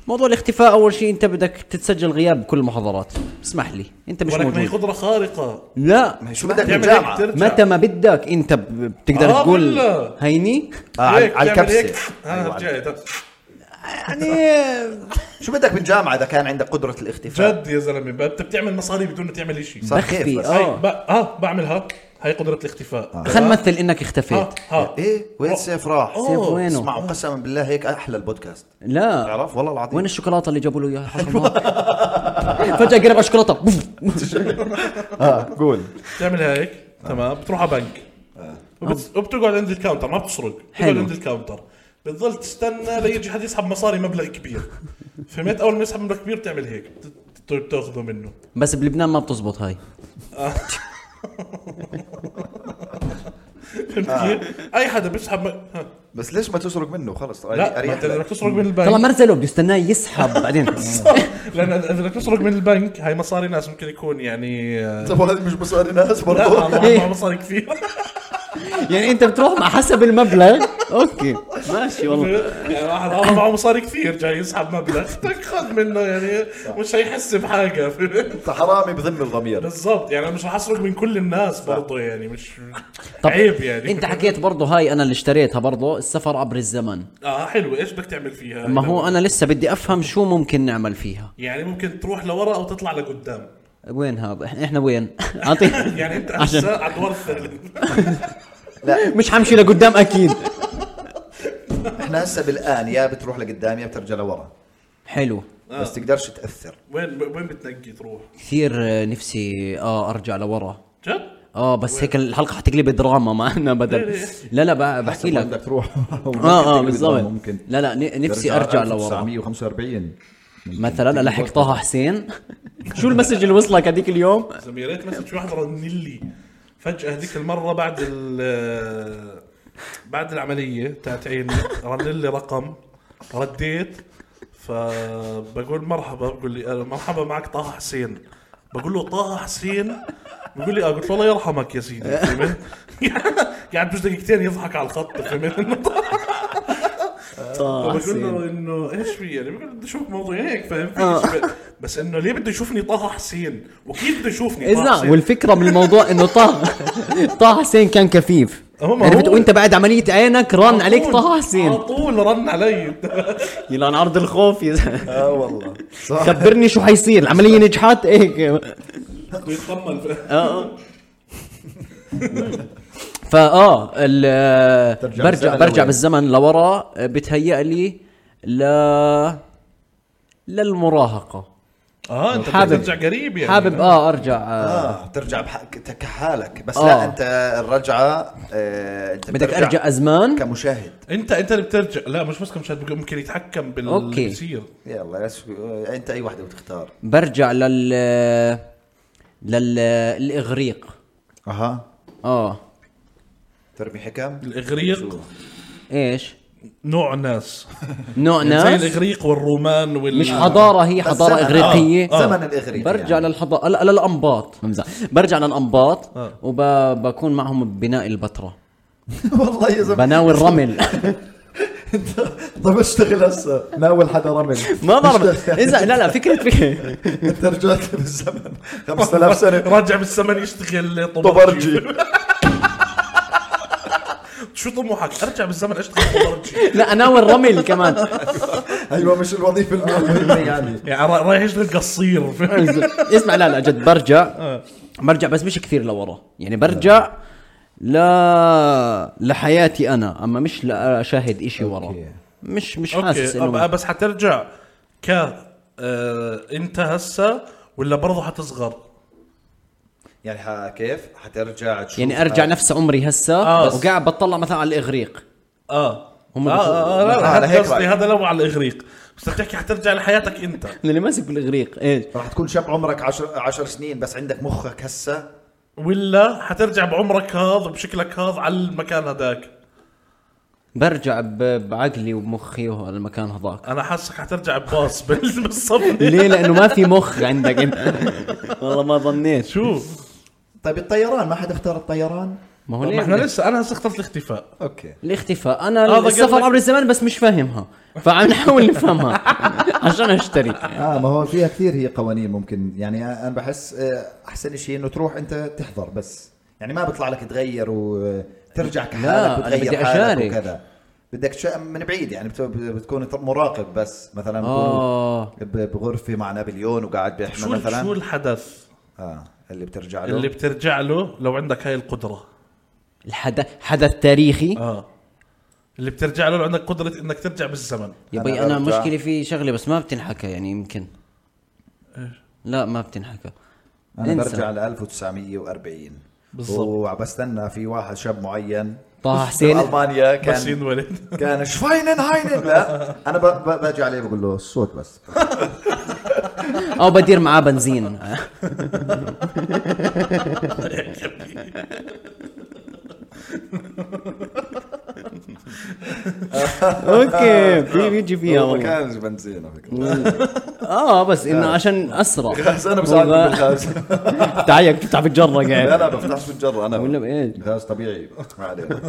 Speaker 1: موضوع الاختفاء اول شيء انت بدك تتسجل غياب بكل المحاضرات اسمح لي انت مش
Speaker 3: ولك ما هي
Speaker 1: موجود
Speaker 3: قدره خارقه
Speaker 1: لا
Speaker 2: شو بدك
Speaker 3: تعمل
Speaker 2: بالجامعه؟
Speaker 3: هيك ترجع.
Speaker 1: متى ما بدك انت ب- بتقدر
Speaker 3: آه
Speaker 1: تقول
Speaker 3: بالله.
Speaker 1: هيني
Speaker 2: آه، على
Speaker 3: هيك
Speaker 2: على
Speaker 3: تعمل هيك. آه،
Speaker 2: الكبسه
Speaker 3: ها
Speaker 2: أيوة، على-
Speaker 3: رجعت
Speaker 1: يعني
Speaker 2: شو بدك بالجامعه اذا كان عندك قدره الاختفاء؟
Speaker 3: جد يا زلمه ب- انت بتعمل مصاري بدون ما تعمل شيء
Speaker 2: صح كيف
Speaker 1: بخفي
Speaker 2: بس.
Speaker 1: آه.
Speaker 3: اه اه بعملها هاي قدره الاختفاء
Speaker 2: آه.
Speaker 1: خلينا
Speaker 3: تمام؟ آه،
Speaker 1: نمثل انك
Speaker 3: ها
Speaker 1: اختفيت
Speaker 3: ها
Speaker 2: ايه وين سيف راح؟
Speaker 1: سيف وينه
Speaker 2: اسمعوا قسما بالله هيك احلى البودكاست
Speaker 1: لا
Speaker 2: تعرف والله العظيم
Speaker 1: وين الشوكولاته اللي جابوا له اياها حصل معه؟ فجاه قرب على الشوكولاته بوف. آه،
Speaker 2: اه قول
Speaker 3: بتعمل هيك
Speaker 2: آه.
Speaker 3: تمام بتروح على بنك وبت- وبتقعد عند الكاونتر ما بتسرق بتقعد
Speaker 1: حلو.
Speaker 3: عند الكاونتر بتضل تستنى ليجي حد يسحب مصاري مبلغ كبير فهمت اول ما يسحب مبلغ كبير بتعمل هيك بت- بت- بتاخذه منه
Speaker 1: بس بلبنان ما بتزبط هاي
Speaker 3: طيب. فهمت
Speaker 2: آه.
Speaker 3: كيف؟ اي حدا بيسحب م... ها.
Speaker 2: بس ليش ما تسرق منه خلص
Speaker 3: لا ما
Speaker 2: اريح
Speaker 3: انت اذا
Speaker 2: لك.
Speaker 3: بدك تسرق من
Speaker 1: طلع
Speaker 3: البنك
Speaker 1: مرزله بده يستناه يسحب بعدين
Speaker 3: لان اذا بدك تسرق من البنك هاي مصاري ناس ممكن يكون يعني آه،
Speaker 2: طب هذه مش مصاري ناس
Speaker 3: لا
Speaker 2: برضه
Speaker 3: والله ما مصاري كثير
Speaker 1: يعني انت بتروح مع حسب المبلغ اوكي ماشي والله
Speaker 3: يعني واحد هذا معه مصاري كثير جاي يسحب مبلغ بدك خذ منه يعني مش حيحس بحاجه فهمت؟
Speaker 2: انت حرامي بذم الضمير
Speaker 3: بالضبط يعني أنا مش رح اسرق من كل الناس برضه يعني مش
Speaker 1: طب
Speaker 3: عيب يعني
Speaker 1: انت حكيت برضه هاي انا اللي اشتريتها برضه السفر عبر الزمن
Speaker 3: اه حلو ايش بدك تعمل فيها
Speaker 1: ما هو انا لسه بدي افهم شو ممكن نعمل فيها
Speaker 3: يعني ممكن تروح لورا او تطلع لقدام
Speaker 1: وين هذا احنا احنا وين اعطيني
Speaker 3: يعني انت
Speaker 1: عشان-
Speaker 3: هسه على الدور الثالث
Speaker 1: مش حمشي لقدام اكيد
Speaker 2: احنا هسه بالان يا بتروح لقدام يا بترجع لورا
Speaker 1: حلو
Speaker 2: بس تقدرش تاثر
Speaker 3: وين وين بتنقي تروح
Speaker 1: كثير آه، نفسي اه ارجع لورا
Speaker 3: جد؟
Speaker 1: اه بس هيك الحلقه حتقلب دراما معنا بدل لا لا بع- بحكي
Speaker 2: ما
Speaker 1: لك
Speaker 2: بدك تروح
Speaker 1: اه اه بالضبط لا لا ن- نفسي ارجع لورا
Speaker 2: 945
Speaker 1: مثلا الحق طه حسين شو المسج اللي وصلك هذيك اليوم
Speaker 3: زلمه يا ريت مسج في واحد رن لي فجاه هذيك المره بعد ال بعد العمليه تاعت عيني رن لي رقم رديت فبقول مرحبا بقول لي أنا مرحبا معك طه حسين بقول له طه حسين بقول لي اه قلت له الله يرحمك يا سيدي فهمت؟ قاعد بجوز دقيقتين يضحك على الخط فهمت إنه طه- فبقول له انه ايش في يعني بقول بده يشوف موضوع هيك فاهم في إشي. بس انه ليه بده يشوفني طه حسين وكيف بده يشوفني طه
Speaker 1: إذا
Speaker 3: حسين
Speaker 1: والفكرة من الموضوع إنه طه طه حسين كان كفيف
Speaker 3: هو ما
Speaker 1: عرفت
Speaker 3: هو.
Speaker 1: وأنت بعد عملية عينك رن عليك طه
Speaker 3: على
Speaker 1: حسين
Speaker 3: طول رن علي
Speaker 1: يلعن عرض الخوف يا زلمة.
Speaker 2: اه والله صح
Speaker 1: خبرني شو حيصير العملية نجحت هيك
Speaker 3: بيتطمن آه.
Speaker 1: فآه آه، ال-
Speaker 2: ترجع
Speaker 1: برجع
Speaker 2: بالزمن
Speaker 1: برجع
Speaker 2: لوين؟
Speaker 1: بالزمن لورا بتهيأ لي ل للمراهقة
Speaker 3: اه انت
Speaker 4: حابب.
Speaker 3: حابب ترجع قريب يعني
Speaker 4: حابب اه ارجع آه.
Speaker 2: اه ترجع بحق- كحالك بس
Speaker 4: آه.
Speaker 2: لا انت الرجعه آه، انت
Speaker 1: بدك
Speaker 2: بترجع
Speaker 1: ارجع ازمان
Speaker 2: كمشاهد
Speaker 3: انت انت اللي بترجع لا مش بس كمشاهد بيقول ممكن يتحكم بال-
Speaker 1: أوكي.
Speaker 3: اللي بيصير
Speaker 2: يلا يس- انت اي واحده بتختار
Speaker 1: برجع لل لل الاغريق
Speaker 5: اها
Speaker 1: اه
Speaker 2: ترمي حكم
Speaker 3: الاغريق
Speaker 1: ايش
Speaker 3: نوع ناس يعني
Speaker 1: نوع
Speaker 3: زي
Speaker 1: ناس
Speaker 3: الاغريق والرومان وال
Speaker 1: مش حضاره هي
Speaker 2: بس
Speaker 1: حضاره
Speaker 2: زمن-
Speaker 1: اغريقيه
Speaker 2: آه، زمن الاغريق
Speaker 1: برجع للحضاره لا لا للانباط بمزح. برجع للانباط
Speaker 3: آه.
Speaker 1: وبكون معهم ببناء البتراء
Speaker 2: والله يا زلمه
Speaker 1: بناوي الرمل
Speaker 2: طب اشتغل هسه ناول حدا رمل
Speaker 1: ما بعرف اذا لا لا فكره فكره
Speaker 2: انت رجعت بالزمن 5000 سنه
Speaker 3: راجع بالزمن يشتغل
Speaker 2: طبرجي
Speaker 3: شو طموحك ارجع بالزمن اشتغل طبرجي
Speaker 1: لا اناول الرمل كمان
Speaker 2: ايوه مش الوظيفه
Speaker 1: آه.
Speaker 2: المهمه يعني
Speaker 3: يعني را- رايح يشتغل قصير
Speaker 1: اسمع لا لا جد برجع
Speaker 3: آه.
Speaker 1: برجع بس مش كثير لورا يعني برجع لا لحياتي انا اما مش لاشاهد اشي ورا
Speaker 5: أوكي.
Speaker 1: مش مش حاسس
Speaker 3: اوكي أب-
Speaker 1: انه
Speaker 3: بس حترجع ك آه، انت هسه ولا برضه حتصغر
Speaker 2: يعني ح- كيف حترجع تشوف
Speaker 1: يعني ارجع نفس عمري هسه
Speaker 3: آه.
Speaker 1: وقاعد بطلع مثلا على الاغريق
Speaker 3: اه
Speaker 1: هم
Speaker 3: هم آه, آه, آه, لا،
Speaker 2: آه،
Speaker 3: لا
Speaker 2: على هيك
Speaker 3: هذا قصدي
Speaker 2: رأيك.
Speaker 3: هذا لو على الاغريق بس بدك تحكي حترجع لحياتك انت
Speaker 1: أنا اللي ماسك بالاغريق ايش
Speaker 2: راح تكون شاب عمرك 10 10 سنين بس عندك مخك هسه
Speaker 3: ولا حترجع بعمرك هذا وبشكلك هذا على المكان هذاك
Speaker 1: برجع ب- بعقلي وبمخي على المكان هذاك
Speaker 3: انا حاسك حترجع بباص بال- بالصف
Speaker 1: ليه لانه ما في مخ عندك انت والله ما ظنيت
Speaker 3: شو
Speaker 2: طيب الطيران ما حد اختار الطيران
Speaker 1: ما هو
Speaker 3: طب ما
Speaker 1: ليه
Speaker 3: احنا لسه انا هسه اخترت الاختفاء
Speaker 2: اوكي
Speaker 1: الاختفاء انا
Speaker 3: هذا
Speaker 1: السفر
Speaker 3: قبلك.
Speaker 1: عبر الزمان بس مش فاهمها فعم نحاول نفهمها عشان اشتري
Speaker 2: اه ما هو فيها كثير هي قوانين ممكن يعني انا بحس آه، احسن شيء انه تروح انت تحضر بس يعني ما بيطلع لك تغير وترجع
Speaker 1: أنا
Speaker 2: كحالك وتغير
Speaker 1: بدي
Speaker 2: حالك
Speaker 1: أشارك.
Speaker 2: وكذا بدك شيء من بعيد يعني بت- بتكون مراقب بس مثلا بكونوا
Speaker 1: اه
Speaker 2: ب- بغرفه مع نابليون وقاعد بيحمى
Speaker 3: شو
Speaker 2: مثلا
Speaker 3: شو الحدث
Speaker 2: اه اللي بترجع له
Speaker 3: اللي بترجع له لو عندك هاي القدره
Speaker 1: الحدث حدث تاريخي
Speaker 2: آه.
Speaker 3: اه اللي بترجع له لو عندك قدره انك ترجع بالزمن
Speaker 1: يا بي
Speaker 2: أنا
Speaker 1: انا
Speaker 2: برجع.
Speaker 1: مشكلة في شغلة بس ما بتنحكى يعني يمكن لا ما بتنحكى
Speaker 2: انا
Speaker 1: انسى.
Speaker 2: برجع ل 1940
Speaker 3: بالضبط.
Speaker 2: وبستنى في واحد شاب معين
Speaker 1: طه
Speaker 2: من
Speaker 1: حسين
Speaker 2: المانيا
Speaker 3: بس
Speaker 2: كان
Speaker 3: ينولد
Speaker 2: كان شفاينن هاينن لا انا ب- ب- باجي عليه بقول له الصوت بس
Speaker 1: او بدير معاه بنزين اوكي طيب، في بيجي فيها
Speaker 2: هو ما
Speaker 1: والله
Speaker 2: كانش بنزين على فكره
Speaker 1: اه بس انه عشان اسرع
Speaker 2: غاز انا بساعدك
Speaker 1: والله.
Speaker 2: بالغاز
Speaker 1: تعيك بتفتح بتجرة
Speaker 2: لا
Speaker 1: قاعد
Speaker 2: لا بفتحش بالجره انا
Speaker 1: ولا بإيش؟
Speaker 2: غاز طبيعي ما علينا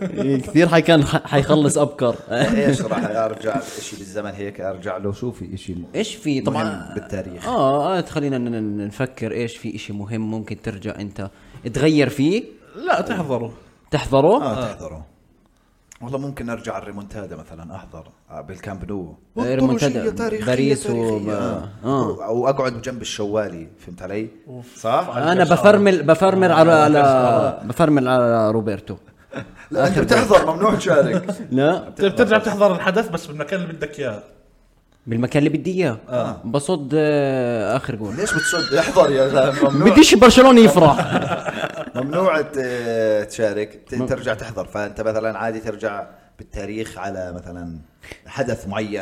Speaker 1: إيه، كثير حيكان حيخلص ابكر
Speaker 2: ايش راح ارجع شيء بالزمن هيك ارجع له شو في شيء
Speaker 1: ايش في طبعا
Speaker 2: مهم بالتاريخ.
Speaker 1: اه آه، خلينا ن- ن- نفكر ايش في اشي مهم ممكن ترجع انت تغير فيه
Speaker 3: لا تحضره
Speaker 1: تحضره
Speaker 2: اه تحضره والله ممكن ارجع الريمونتادا مثلا احضر آه، بالكامب نو
Speaker 1: آه، ريمونتادا
Speaker 2: بطرشية تاريخية
Speaker 1: باريس
Speaker 2: تاريخية.
Speaker 1: وب-
Speaker 2: آه.
Speaker 1: آه.
Speaker 2: واقعد جنب الشوالي فهمت علي؟ صح؟
Speaker 1: انا بفرمل بفرمل على
Speaker 2: آه،
Speaker 1: على بفرمل على روبرتو
Speaker 2: لا انت بتحضر ممنوع تشارك
Speaker 1: لا
Speaker 3: بترجع بتحضر الحدث بس بالمكان اللي بدك اياه
Speaker 1: بالمكان اللي بدي اياه بصد آه، اخر جول
Speaker 2: ليش بتصد؟ احضر يا زلمه ممنوع
Speaker 1: بديش برشلونه يفرح
Speaker 2: ممنوع ت- تشارك ت- ترجع تحضر فانت مثلا عادي ترجع بالتاريخ على مثلا حدث معين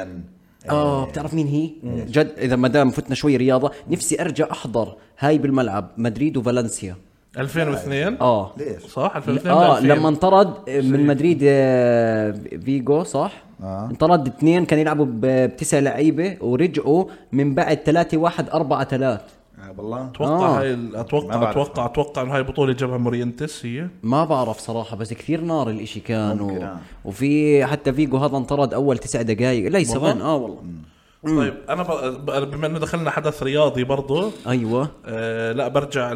Speaker 2: إيه.
Speaker 3: آه.
Speaker 1: اه بتعرف مين هي؟ جد اذا ما دام فتنا شوي رياضه نفسي ارجع احضر هاي بالملعب مدريد وفالنسيا
Speaker 3: 2002
Speaker 2: آه.
Speaker 1: اه
Speaker 2: ليش؟
Speaker 3: صح 2002
Speaker 2: آه،
Speaker 1: اه
Speaker 3: 2000.
Speaker 1: لما انطرد من مدريد آه، فيجو صح؟ آه. انطرد اثنين كانوا يلعبوا ب- بتسع لعيبه ورجعوا من بعد 3 1 4 3
Speaker 2: آه والله
Speaker 3: اتوقع
Speaker 1: آه.
Speaker 3: هاي ال-
Speaker 2: ما
Speaker 3: اتوقع
Speaker 2: بعرف.
Speaker 3: اتوقع اتوقع انه هاي بطوله جابها مورينتس هي
Speaker 1: ما بعرف صراحه بس كثير نار الاشي كان
Speaker 2: ممكن،
Speaker 1: و...
Speaker 2: آه.
Speaker 1: وفي حتى فيجو هذا انطرد اول تسع دقائق ليس
Speaker 3: والله؟
Speaker 1: ثوان اه والله
Speaker 3: طيب انا ب- ب- بما انه دخلنا حدث رياضي برضه
Speaker 1: ايوه
Speaker 3: آه لا برجع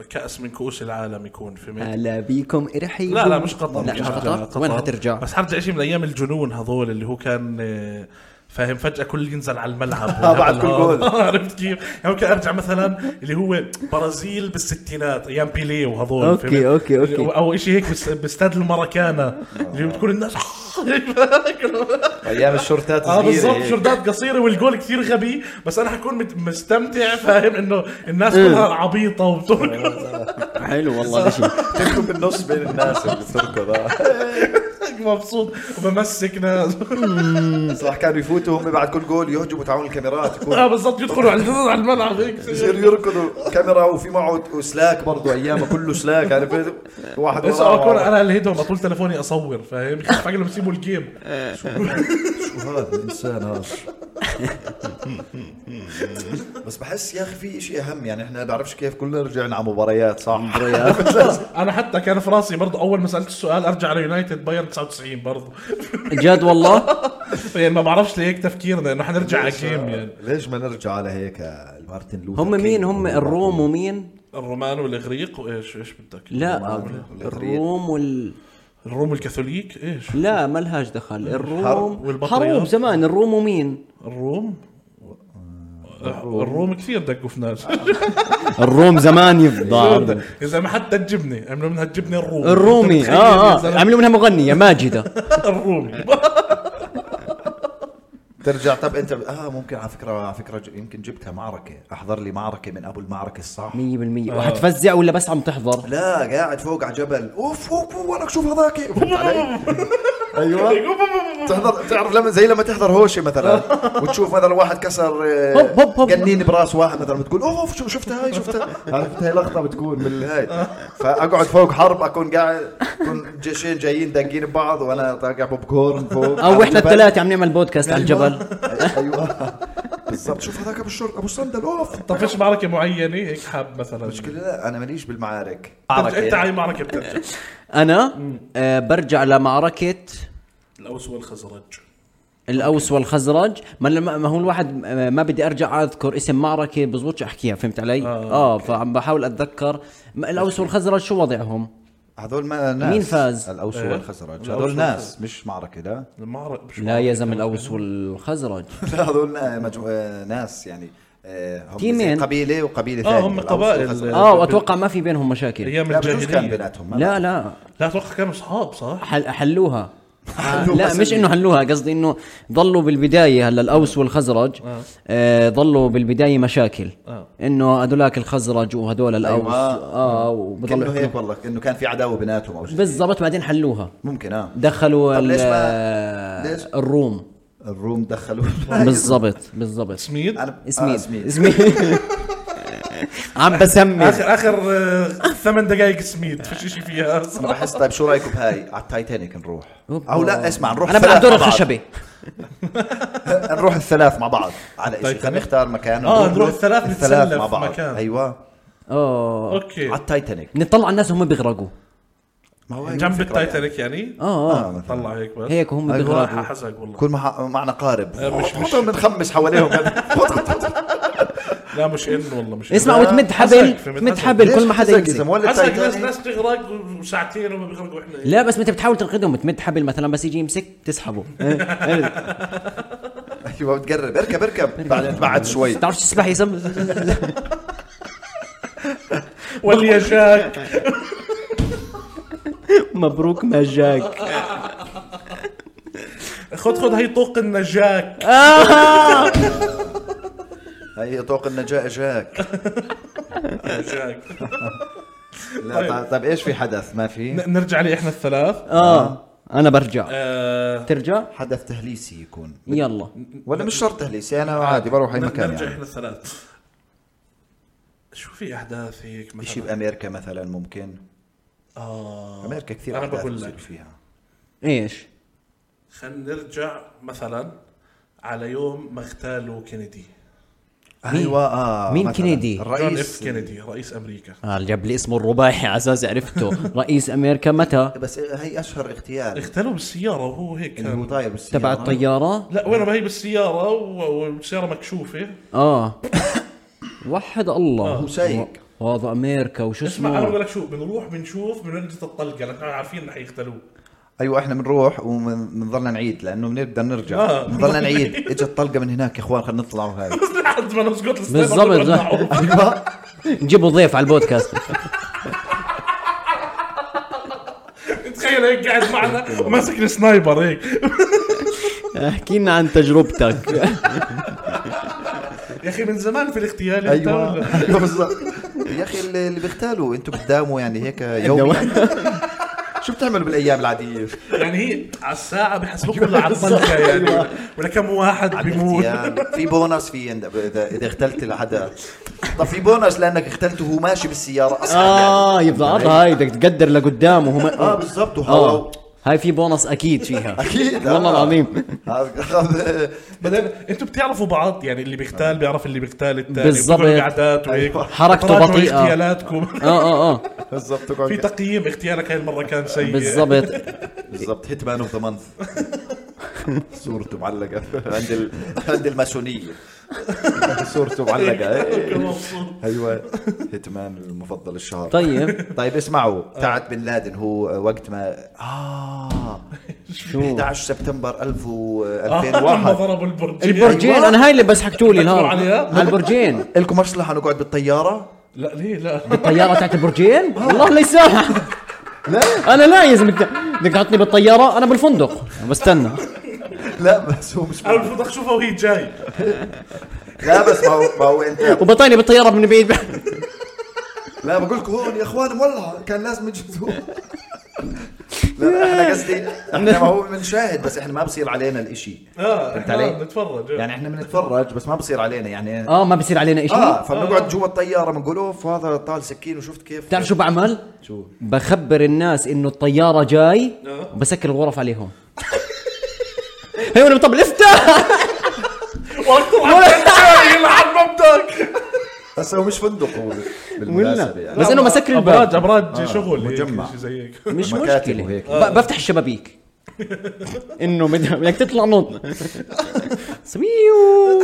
Speaker 3: لكأس من كؤوس العالم يكون في مين
Speaker 1: هلا بيكم ارحبوا
Speaker 3: لا لا مش قطر
Speaker 1: آه. لا مش
Speaker 3: حرجع
Speaker 1: قطر وين حترجع
Speaker 3: بس حرجع شيء من ايام الجنون هذول اللي هو كان آه، فاهم فجاه كل ينزل على الملعب
Speaker 2: آه، بعد كل
Speaker 3: والهبل
Speaker 2: جول.
Speaker 3: هذا. عرفت كيف؟ يعني ممكن ارجع مثلا اللي هو برازيل بالستينات ايام بيليه وهذول
Speaker 6: أوكي،
Speaker 3: فهمت؟
Speaker 6: أوكي، أوكي.
Speaker 3: او شيء هيك بس- باستاد المراكانا اللي بتكون الناس
Speaker 2: ايام الشورتات
Speaker 3: اه بالضبط
Speaker 2: صغيرة
Speaker 3: شردات قصيره والجول كثير غبي بس انا حكون مت- مستمتع فاهم انه الناس كلها عبيطه وبتركض
Speaker 6: حلو والله الاشي
Speaker 2: تركب بالنص بين الناس اللي بتركض آه.
Speaker 3: مبسوط وبمسك ناس
Speaker 2: صح كانوا يفوتوا هم بعد كل جول يهجموا تعاون الكاميرات يكون
Speaker 3: اه بالضبط يدخلوا على على الملعب هيك
Speaker 2: يصير يركضوا كاميرا وفي معه سلاك برضه ايامه كله سلاك عرفت واحد
Speaker 3: بس اكون
Speaker 2: وراه
Speaker 3: انا الهيدهم اطول تلفوني اصور فاهم كيف لهم يسيبوا الجيم
Speaker 2: شو هذا الانسان هذا بس بحس يا اخي في شيء اهم يعني احنا بعرفش كيف كلنا رجعنا على مباريات صح مباريات
Speaker 3: انا حتى كان في راسي برضه اول ما سالت السؤال ارجع على يونايتد بايرن 99 برضه
Speaker 1: جد والله
Speaker 3: يعني ما بعرفش ليه هيك تفكيرنا انه حنرجع على جيم يعني
Speaker 2: ليش ما نرجع على هيك المارتن لوثر
Speaker 1: هم
Speaker 2: كينج
Speaker 1: مين هم
Speaker 2: والمارتن
Speaker 1: الروم ومين
Speaker 3: الرومان والاغريق وايش ايش بدك
Speaker 1: لا الروم وال
Speaker 3: الروم الكاثوليك ايش
Speaker 1: لا ما لهاش دخل الروم
Speaker 3: والبطريات.
Speaker 1: حروم زمان الروم ومين
Speaker 3: الروم الروم كثير دقوا في ناس
Speaker 6: الروم زمان يفضل
Speaker 3: اذا ما حتى الجبنه عملوا منها الجبنه الرومي
Speaker 6: الرومي
Speaker 1: آه،
Speaker 6: اه اه عملوا منها مغنية ماجدة
Speaker 3: الرومي
Speaker 2: ترجع طب انت اه ممكن على فكره على فكره ج- يمكن جبتها معركه احضر لي معركه من ابو المعركه الصح
Speaker 6: 100% وحتفزع ولا بس عم تحضر
Speaker 2: لا قاعد فوق على جبل اوف اوف أوف، ولك شوف هذاك فهمت علي؟ ايوه تحضر تعرف لما زي لما تحضر هوشه مثلا وتشوف مثلا واحد كسر آه،
Speaker 6: هوب، هوب، هوب.
Speaker 2: قنين براس واحد مثلا بتقول اوف أوف، شو- شفتها هاي شفتها عرفت هاي لقطه بتكون من هاي فاقعد فوق حرب اكون قاعد اكون جيشين جايين داقين ببعض وانا طاقع بوب كورن فوق
Speaker 6: او
Speaker 2: على
Speaker 6: احنا
Speaker 2: الجبل.
Speaker 6: الثلاثة عم نعمل بودكاست على الجبل
Speaker 2: ايوه بالضبط شوف هذاك ابو الشرطه ابو الصندل اوف
Speaker 3: طب فيش معركه معينه هيك حاب مثلا
Speaker 2: مشكلة لا انا ماليش بالمعارك
Speaker 3: ترجع- انت
Speaker 2: يعني.
Speaker 3: على معركه بترجع
Speaker 1: انا آه برجع لمعركة
Speaker 3: الاوس والخزرج
Speaker 1: الاوس والخزرج ما لما- ما هو الواحد آه، ما بدي ارجع اذكر اسم معركة بزبطش احكيها فهمت علي اه, آه فعم بحاول اتذكر ما- الاوس والخزرج شو وضعهم
Speaker 2: هذول ما ناس
Speaker 1: مين فاز؟
Speaker 2: الاوس
Speaker 3: إيه.
Speaker 2: والخزرج
Speaker 3: الأوس
Speaker 2: هذول ناس مش معركه لا
Speaker 3: المعركه مش
Speaker 1: لا
Speaker 3: معركة.
Speaker 1: يا زلمة الاوس والخزرج
Speaker 2: لا هذول نا- مجمو... آه، ناس يعني آه، هم
Speaker 1: تيمين.
Speaker 2: زي قبيله وقبيله
Speaker 3: آه،
Speaker 2: ثانيه
Speaker 3: هم
Speaker 2: الأوس
Speaker 3: قبائل.
Speaker 2: والخزرج.
Speaker 1: اه واتوقع ما في بينهم مشاكل
Speaker 3: ايام
Speaker 2: لا بجوز كان
Speaker 3: الجاهليه
Speaker 2: بيناتهم ما
Speaker 1: لا لا
Speaker 3: لا اتوقع كانوا اصحاب صح؟
Speaker 1: حل حلوها آه،
Speaker 2: حلوها
Speaker 1: لا مش
Speaker 2: سلبي.
Speaker 1: انه حلوها قصدي انه ضلوا بالبدايه هلا الاوس والخزرج آه ضلوا بالبدايه مشاكل
Speaker 3: آه.
Speaker 1: انه هذولاك الخزرج وهذول الاوس
Speaker 2: أيوة.
Speaker 1: اه
Speaker 2: كانه
Speaker 1: وبضلوا
Speaker 2: هيك والله انه كان في عداوه بيناتهم او شيء
Speaker 1: بالضبط بعدين حلوها
Speaker 2: ممكن اه
Speaker 1: دخلوا
Speaker 2: طب ليش ما-
Speaker 1: ال-
Speaker 2: ليش؟
Speaker 1: الروم
Speaker 2: الروم دخلوا
Speaker 1: بالضبط بالضبط
Speaker 3: سميد
Speaker 2: أنا- آه،
Speaker 1: اسمين
Speaker 2: اسمين
Speaker 1: اسمين عم بسمي
Speaker 3: اخر اخر آه، ثمان دقائق سميد فيش شيء فيها
Speaker 2: أنا بحس طيب شو رايكم بهاي على التايتانيك نروح او لا اسمع نروح
Speaker 1: انا
Speaker 2: ثلاث
Speaker 1: بلعب دور
Speaker 2: مع بعض.
Speaker 1: الخشبي
Speaker 2: نروح الثلاث مع بعض على شيء خلينا
Speaker 3: تايتانيك؟
Speaker 2: نختار مكان
Speaker 3: آه، نروح الثلاث نتسلى في مكان.
Speaker 2: ايوه
Speaker 1: اه
Speaker 3: اوكي
Speaker 2: على التايتانيك
Speaker 1: نطلع الناس وهم بيغرقوا
Speaker 2: ما هو هيك
Speaker 3: جنب
Speaker 2: الفكرة
Speaker 3: التايتانيك يعني؟
Speaker 1: اه
Speaker 2: آه،
Speaker 1: اه
Speaker 2: طيب،
Speaker 3: طلع هيك بس
Speaker 1: هيك وهم
Speaker 2: أيوة.
Speaker 1: بيغرقوا
Speaker 3: راح حزق طيب، والله
Speaker 2: يكون مع- معنا قارب
Speaker 3: آه، مش- مش-
Speaker 2: بنخمش طيب، حواليهم
Speaker 3: لا مش ان والله مش إن.
Speaker 1: اسمع وتمد حبل
Speaker 3: حزق، فهمت؟
Speaker 1: تمد
Speaker 3: حزق.
Speaker 1: حبل كل ما حدا يمسك
Speaker 3: حزق ناس ناس بتغرق وساعتين وما بيغرقوا احنا
Speaker 1: لا بس ما انت بتحاول تنقذهم بتمد حبل مثلا بس يجي يمسك تسحبه
Speaker 3: إيه،
Speaker 2: ايوه بتقرب اركب اركب بعد بعد
Speaker 3: طيب.
Speaker 2: شوي
Speaker 1: بتعرفش تسبح يا زلمه
Speaker 3: واللي جاك
Speaker 6: مبروك ما جاك
Speaker 3: خذ خذ هي طوق النجاك
Speaker 2: هي طوق النجاة جاك
Speaker 3: نجاك
Speaker 2: لا طيب- طيب ايش في حدث ما في
Speaker 3: ن- نرجع لي احنا الثلاث
Speaker 1: اه انا برجع
Speaker 3: آه،
Speaker 1: ترجع
Speaker 2: حدث تهليسي يكون
Speaker 1: يلا
Speaker 2: ولا مش شرط تهليسي انا عادي بروح اي
Speaker 3: ن-
Speaker 2: مكان
Speaker 3: نرجع احنا
Speaker 2: يعني
Speaker 3: الثلاث شو في احداث هيك
Speaker 2: شيء
Speaker 3: مثلا
Speaker 2: بامريكا مثلا ممكن
Speaker 3: اه
Speaker 2: امريكا كثير
Speaker 3: انا
Speaker 2: أحداث
Speaker 3: بقول
Speaker 2: بتصير
Speaker 3: لك
Speaker 2: فيها
Speaker 1: ايش
Speaker 3: خلينا نرجع مثلا على يوم ما اغتالوا كينيدي
Speaker 2: ايوه اه
Speaker 1: مين
Speaker 2: مثلاً.
Speaker 1: كندي؟
Speaker 3: جون اف
Speaker 2: الرئيس
Speaker 3: كينيدي رئيس امريكا
Speaker 1: آه جاب لي اسمه الرباعي على اساس عرفته رئيس امريكا متى
Speaker 2: بس هي اشهر اغتيال
Speaker 3: اغتالوا بالسياره وهو هيك
Speaker 2: اللي هو طيب،
Speaker 3: كان
Speaker 2: طاير بالسيارة
Speaker 1: تبع الطياره
Speaker 3: لا وين ما هي بالسياره و- والسياره مكشوفه
Speaker 1: اه وحد الله
Speaker 2: هو سايق.
Speaker 1: هذا امريكا وشو
Speaker 3: آه، اسمع انا
Speaker 1: اسمه
Speaker 3: بقول لك شو بنروح بنشوف بننجز الطلقه لان احنا عارفين انه حيقتلوه
Speaker 2: أيوة،
Speaker 7: ايوه احنا بنروح وبنضلنا نعيد لانه بنقدر نرجع
Speaker 3: آه.
Speaker 7: بنضلنا نعيد اجت طلقه من هناك يا اخوان خلينا نطلع وهاي
Speaker 3: لحد ما نسقط الستيب
Speaker 1: بالضبط.
Speaker 3: بدنا نطلعه.
Speaker 2: أيوة،
Speaker 1: نجيبوا ضيف على البودكاست
Speaker 3: تخيل هيك قاعد معنا
Speaker 1: أيوة.
Speaker 3: وماسك سنايبر هيك
Speaker 1: احكي لنا عن تجربتك
Speaker 3: يا اخي من زمان في الاغتيال انت
Speaker 1: أيوة.
Speaker 3: ولا؟
Speaker 7: ايوه ايوه بالضبط
Speaker 2: أيوة، يا اخي اللي اللي بيغتالوا انتوا بتداوموا يعني هيك يوم شو بتعملوا بالايام العاديه؟
Speaker 3: يعني هي على الساعه بحسبوك
Speaker 1: أيوة،
Speaker 3: كلها على الطلقه يعني ولا كم واحد بيموت
Speaker 2: اغتيال يعني في بونص في عند- اذا اذا اغتلت لحدا طب في بونص لانك اغتلته وهو ماشي بالسياره اصلا
Speaker 1: اه يبقى قطع هاي بدك تقدر لقدام وهم
Speaker 2: اه بالضبط
Speaker 1: اه
Speaker 2: وهو
Speaker 1: هاي في بونص اكيد فيها
Speaker 2: اكيد
Speaker 1: والله
Speaker 2: آه.
Speaker 1: العظيم
Speaker 2: هذا أخذ-
Speaker 3: بعدين انتوا بتعرفوا بعض يعني اللي بيغتال بيعرف اللي بيغتال الثاني
Speaker 1: بالضبط. أيوة.
Speaker 3: بتقعدوا قعدات وهيك
Speaker 1: حركته
Speaker 3: طلعتوا
Speaker 1: بطيئة.
Speaker 3: اغتيالاتكم
Speaker 1: اه اه اه
Speaker 2: بالضبط
Speaker 3: في
Speaker 2: تقعد-
Speaker 3: تقييم اغتيالك هاي المره كان سيء
Speaker 1: بالضبط
Speaker 2: بالضبط هيت مان اوف ذا مانث إيه. صورته معلقه عند ال... عند الماسونيه صورته معلقه
Speaker 3: كنت
Speaker 2: إيه.
Speaker 3: مبسوط.
Speaker 2: ايوه هيتمان المفضل الشهر
Speaker 1: طيب
Speaker 2: طيب اسمعوا تاعت بن لادن هو وقت ما اه
Speaker 1: شو
Speaker 2: 11 سبتمبر 1000 و-
Speaker 3: آه، لما
Speaker 2: 2001
Speaker 3: ضربوا البرج
Speaker 1: البرجين انا هاي اللي بس حكتوا لي
Speaker 3: تذكروا
Speaker 1: نهار
Speaker 3: عليها؟
Speaker 1: على البرجين
Speaker 2: الكم مصلحه نقعد بالطياره؟
Speaker 3: لا ليه لا
Speaker 1: الطياره تاعت البرجين والله لا يسامح لا انا لا يا زلمه بدك- بدك تحطني بالطياره انا بالفندق بستنى
Speaker 2: لا بس هو مش
Speaker 3: انا المفروض اشوفها وهي جاي
Speaker 2: لا بس ما هو ما هو انت
Speaker 1: وبطيني بالطياره من بعيد
Speaker 2: لا بقول لك هون يا اخوان والله كان لازم يجوز هون لا احنا قصدي احنا ما هو بنشاهد بس احنا ما بصير علينا الاشي
Speaker 3: اه
Speaker 2: فهمت
Speaker 3: إحنا
Speaker 2: علي؟
Speaker 3: نتفرج آه.
Speaker 2: يعني احنا بنتفرج بس ما بصير علينا يعني
Speaker 1: اه ما بصير علينا
Speaker 2: اه
Speaker 1: شيء
Speaker 2: فبنقعد جوا الطياره بنقول اوف هذا طال سكين وشفت كيف
Speaker 1: بتعرف شو بعمل؟
Speaker 2: شو
Speaker 1: بخبر الناس انه الطياره جاي
Speaker 3: آه.
Speaker 1: وبسكر الغرف عليهم هي وانا طب افتح
Speaker 3: وقت طلعت جاي يلعن مبدك
Speaker 2: بس هو مش فندق هو بالمناسبه يعني
Speaker 1: بس انه مسكر
Speaker 3: ابراج
Speaker 1: الباب
Speaker 3: ابراج شغل هيك،
Speaker 2: مجمع.
Speaker 3: شي زي هيك
Speaker 1: مش
Speaker 2: مكاتب
Speaker 1: مشكله
Speaker 2: وهيك.
Speaker 1: ب- بفتح الشبابيك انه مد- بدك تطلع نط سبيو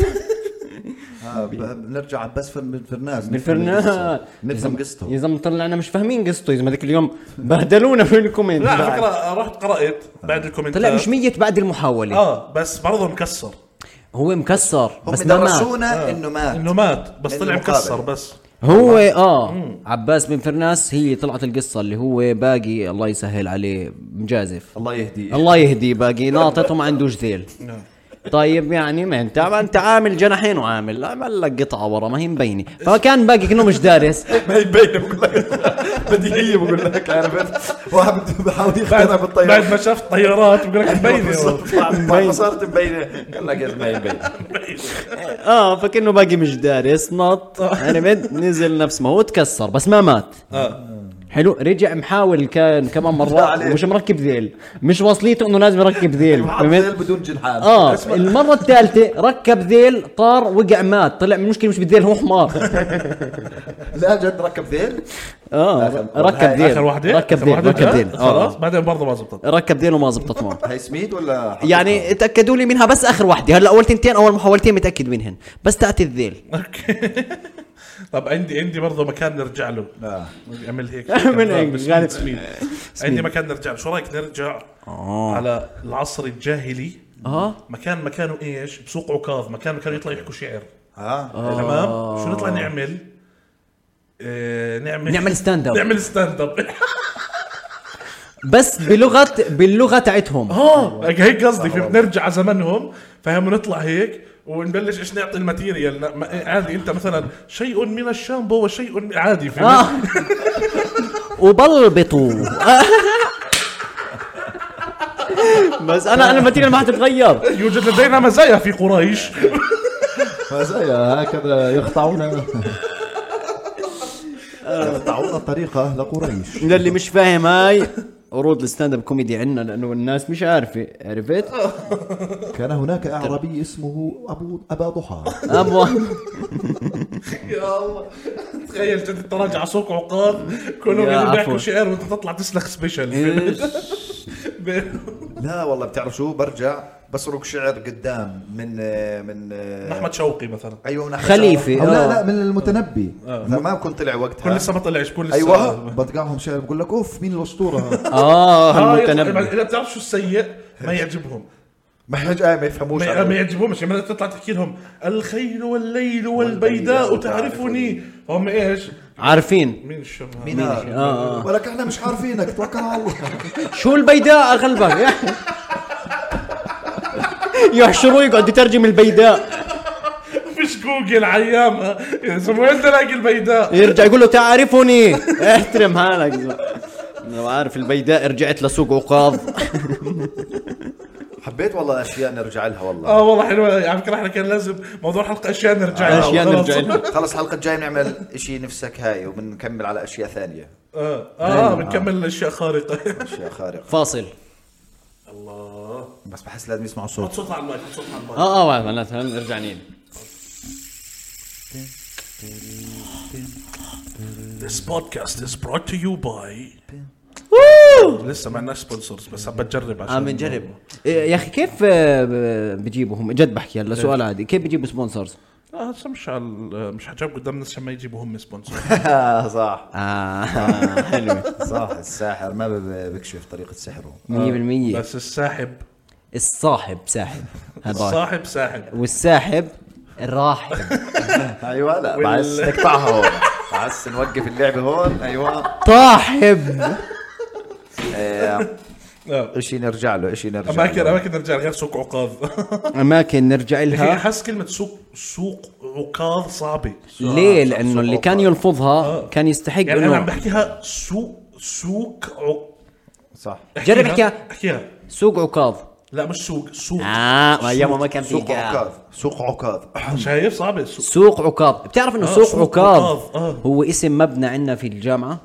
Speaker 2: آه، ب- بنرجع بس فن- من فرناس
Speaker 1: من فرنان
Speaker 2: نفهم قصته
Speaker 1: يا زلمه طلعنا مش فاهمين قصته يا زلمه هذيك اليوم بهدلونا في الكومنت
Speaker 3: لا على فكره رحت قرات بعد الكومنتات
Speaker 1: آه. طلع مش ميت بعد المحاوله
Speaker 3: اه بس برضه مكسر
Speaker 1: هو مكسر
Speaker 2: هم
Speaker 1: بس ما مات
Speaker 2: درسونا انه مات
Speaker 3: انه مات بس
Speaker 1: يعني
Speaker 2: إنه
Speaker 3: طلع
Speaker 2: مقابل.
Speaker 3: مكسر بس
Speaker 1: هو اه عباس بن فرناس هي طلعت القصه اللي هو باقي الله يسهل عليه مجازف
Speaker 2: الله يهديه
Speaker 1: الله يهديه باقي ناطط وما عنده جذيل طيب يعني ما انت ما انت عامل جناحين وعامل عمل لك قطعه ورا ما هي مبينه فكان باقي كانه مش دارس
Speaker 2: ما هي مبينه بقول لك بديهيه بقول لك عرفت واحد بده- بحاول يقتنع
Speaker 3: بعد
Speaker 2: بالطياره
Speaker 3: ما شاف طيارات بقول لك مبينه
Speaker 2: بالضبط، بعد ما صارت مبينه قال لك يا ما هي مبينه
Speaker 1: اه فكانه باقي مش دارس نط عرفت نزل نفس ما هو تكسر بس ما مات
Speaker 3: اه
Speaker 1: حلو رجع محاول كان كمان مرات
Speaker 2: عليه.
Speaker 1: ومش مركب ذيل مش واصليته انه لازم يركب ذيل
Speaker 2: محاضر
Speaker 1: فهمت
Speaker 2: بدون جنحان
Speaker 1: اه المره الثالثه ركب ذيل طار وقع مات طلع من المشكله مش بالذيل هو حمار
Speaker 2: لا جد ركب ذيل
Speaker 1: اه
Speaker 2: آخر-
Speaker 1: ركب ذيل
Speaker 3: اخر واحده
Speaker 1: ركب
Speaker 3: آخر
Speaker 1: ذيل
Speaker 3: واحدة
Speaker 1: ركب
Speaker 3: جاء،
Speaker 1: ذيل
Speaker 3: خلاص
Speaker 1: اه
Speaker 3: بعدين برضه ما زبطت
Speaker 1: ركب ذيل وما زبطت معه
Speaker 2: هي سميد ولا حقيقة؟
Speaker 1: يعني تاكدوا لي منها بس اخر واحده هلا اول تنتين اول محاولتين متاكد منهن بس تاعت الذيل
Speaker 3: اوكي طب عندي عندي برضه مكان نرجع له
Speaker 2: آه.
Speaker 3: اعمل هيك
Speaker 1: اعمل هيك،
Speaker 3: بس
Speaker 1: غالب.
Speaker 3: سمين. عندي مكان نرجع له شو رايك نرجع على العصر الجاهلي
Speaker 1: اه
Speaker 3: مكان مكانه ايش بسوق عكاظ مكان مكانه يطلع يحكوا شعر
Speaker 2: اه
Speaker 3: تمام شو نطلع نعمل آه، نعمل
Speaker 1: نعمل stand up.
Speaker 3: نعمل ستاند اب
Speaker 1: بس بلغه باللغه تاعتهم
Speaker 3: اه هيك قصدي في بنرجع على زمنهم فهم نطلع هيك ونبلش ايش نعطي الماتيريال لا، ما- إيه، عادي انت مثلا شيء من الشامبو وشيء من- عادي في
Speaker 1: اه وبلبطوا بس انا انا الماتيريال ما حتتغير
Speaker 3: يوجد لدينا مزايا في قريش
Speaker 2: مزايا هكذا يقطعون يقطعون الطريقة لقريش
Speaker 1: للي مش فاهم هاي عروض الستاند اب كوميدي عندنا لانه الناس مش عارفه عرفت؟
Speaker 2: كان هناك أعرابي اسمه أبو أبا ضحى
Speaker 1: ابو
Speaker 3: يا الله تخيل جد انت راجع على سوق عقاب كلهم
Speaker 1: يا
Speaker 3: قاعدين
Speaker 1: عفو.
Speaker 3: بيحكوا شعر وانت تطلع تسلخ سبيشل
Speaker 2: لا والله بتعرف شو برجع بسرق شعر قدام من من
Speaker 3: من احمد شوقي مثلا
Speaker 2: ايوه من أحمد
Speaker 1: خليفي.
Speaker 2: شوقي. أو لا
Speaker 1: آه.
Speaker 2: لا من المتنبي ما بكون طلع
Speaker 3: كل
Speaker 2: وقتها
Speaker 3: لسه ما طلعش كل لسه
Speaker 1: أيوة.
Speaker 2: ايوه بتقعهم شعر بقول لك اوف مين الاسطوره هذا؟
Speaker 1: اه
Speaker 3: هاي
Speaker 1: المتنبي
Speaker 3: اذا بتعرف شو السيء ما يعجبهم
Speaker 2: ما يحتاج آه، ما يفهموش
Speaker 3: ما ما
Speaker 2: عليه.
Speaker 3: يعجبهمش لما تطلع تحكي لهم الخيل والليل والبيداء تعرفني فهم ايش؟
Speaker 1: عارفين
Speaker 3: مين الشم هذا؟
Speaker 2: مين هذا؟ ولك احنا مش عارفينك توكل على الله
Speaker 1: شو البيداء غلبك يحشروه يقعد يترجم البيداء
Speaker 3: فيش جوجل إيه؟ عيامها يا زلمه وين تلاقي البيداء؟
Speaker 1: يرجع يقول له تعرفني احترم حالك لو عارف البيداء رجعت لسوق عقاظ
Speaker 2: حبيت والله اشياء نرجع لها والله
Speaker 3: اه والله حلوه على فكره احنا كان لازم موضوع حلقه اشياء نرجع لها
Speaker 1: اشياء
Speaker 3: خلاص.
Speaker 1: نرجع لها.
Speaker 2: خلص الحلقه الجايه بنعمل اشي نفسك هاي وبنكمل على اشياء ثانيه
Speaker 3: اه اه بنكمل اشياء خارقه
Speaker 2: اشياء خارقه
Speaker 1: فاصل
Speaker 2: بس بحس لازم يسمعوا صوت
Speaker 3: صوت على المايك صوت على المايك
Speaker 1: اه اه معناتها ارجع نيل
Speaker 3: This podcast is brought to you by لسه ما عندناش سبونسرز بس عم بتجرب عشان
Speaker 1: عم نجرب يا اخي كيف آه، ب- بجيبوهم جد بحكي هلا سؤال عادي كيف بجيبوا سبونسرز
Speaker 3: اه هسه مش على مش حجاب قدام الناس عشان ما يجيبوا هم سبونسر
Speaker 2: آه، صح
Speaker 1: اه حلوه
Speaker 2: صح الساحر ما ب- بكشف طريقه سحره
Speaker 1: 100%
Speaker 3: بس الساحب
Speaker 1: الصاحب ساحب هذاك
Speaker 3: الصاحب ساحب
Speaker 1: والساحب راحب
Speaker 2: ايوه لا
Speaker 3: وال-
Speaker 2: بس نقطعها هون بس نوقف اللعبه هون ايوه
Speaker 1: طاحب
Speaker 3: آه.
Speaker 2: اشي نرجع له اشي نرجع
Speaker 3: اماكن
Speaker 2: له.
Speaker 3: اماكن نرجع غير سوق عقاظ
Speaker 1: اماكن نرجع
Speaker 3: هي
Speaker 1: لها
Speaker 3: حس كلمه سوق سوق عكاظ صعبه
Speaker 1: ليه لانه اللي كان يلفظها كان يستحق
Speaker 3: يعني انا عم
Speaker 1: انه
Speaker 3: بحكيها سوق سوق عق
Speaker 2: صح
Speaker 1: جرب احكيها
Speaker 3: احكيها
Speaker 1: سوق عكاظ
Speaker 3: لا مش سوق سوق
Speaker 1: اه ما ياما ما كان في
Speaker 2: سوق
Speaker 1: كلام.
Speaker 2: عكاظ سوق عكاظ
Speaker 3: شايف صعبه سوق
Speaker 1: سوق عكاظ بتعرف انه
Speaker 3: آه،
Speaker 1: سوق
Speaker 3: سوق
Speaker 1: عكاظ
Speaker 3: عكاظ، آه.
Speaker 1: هو اسم مبنى عندنا في الجامعه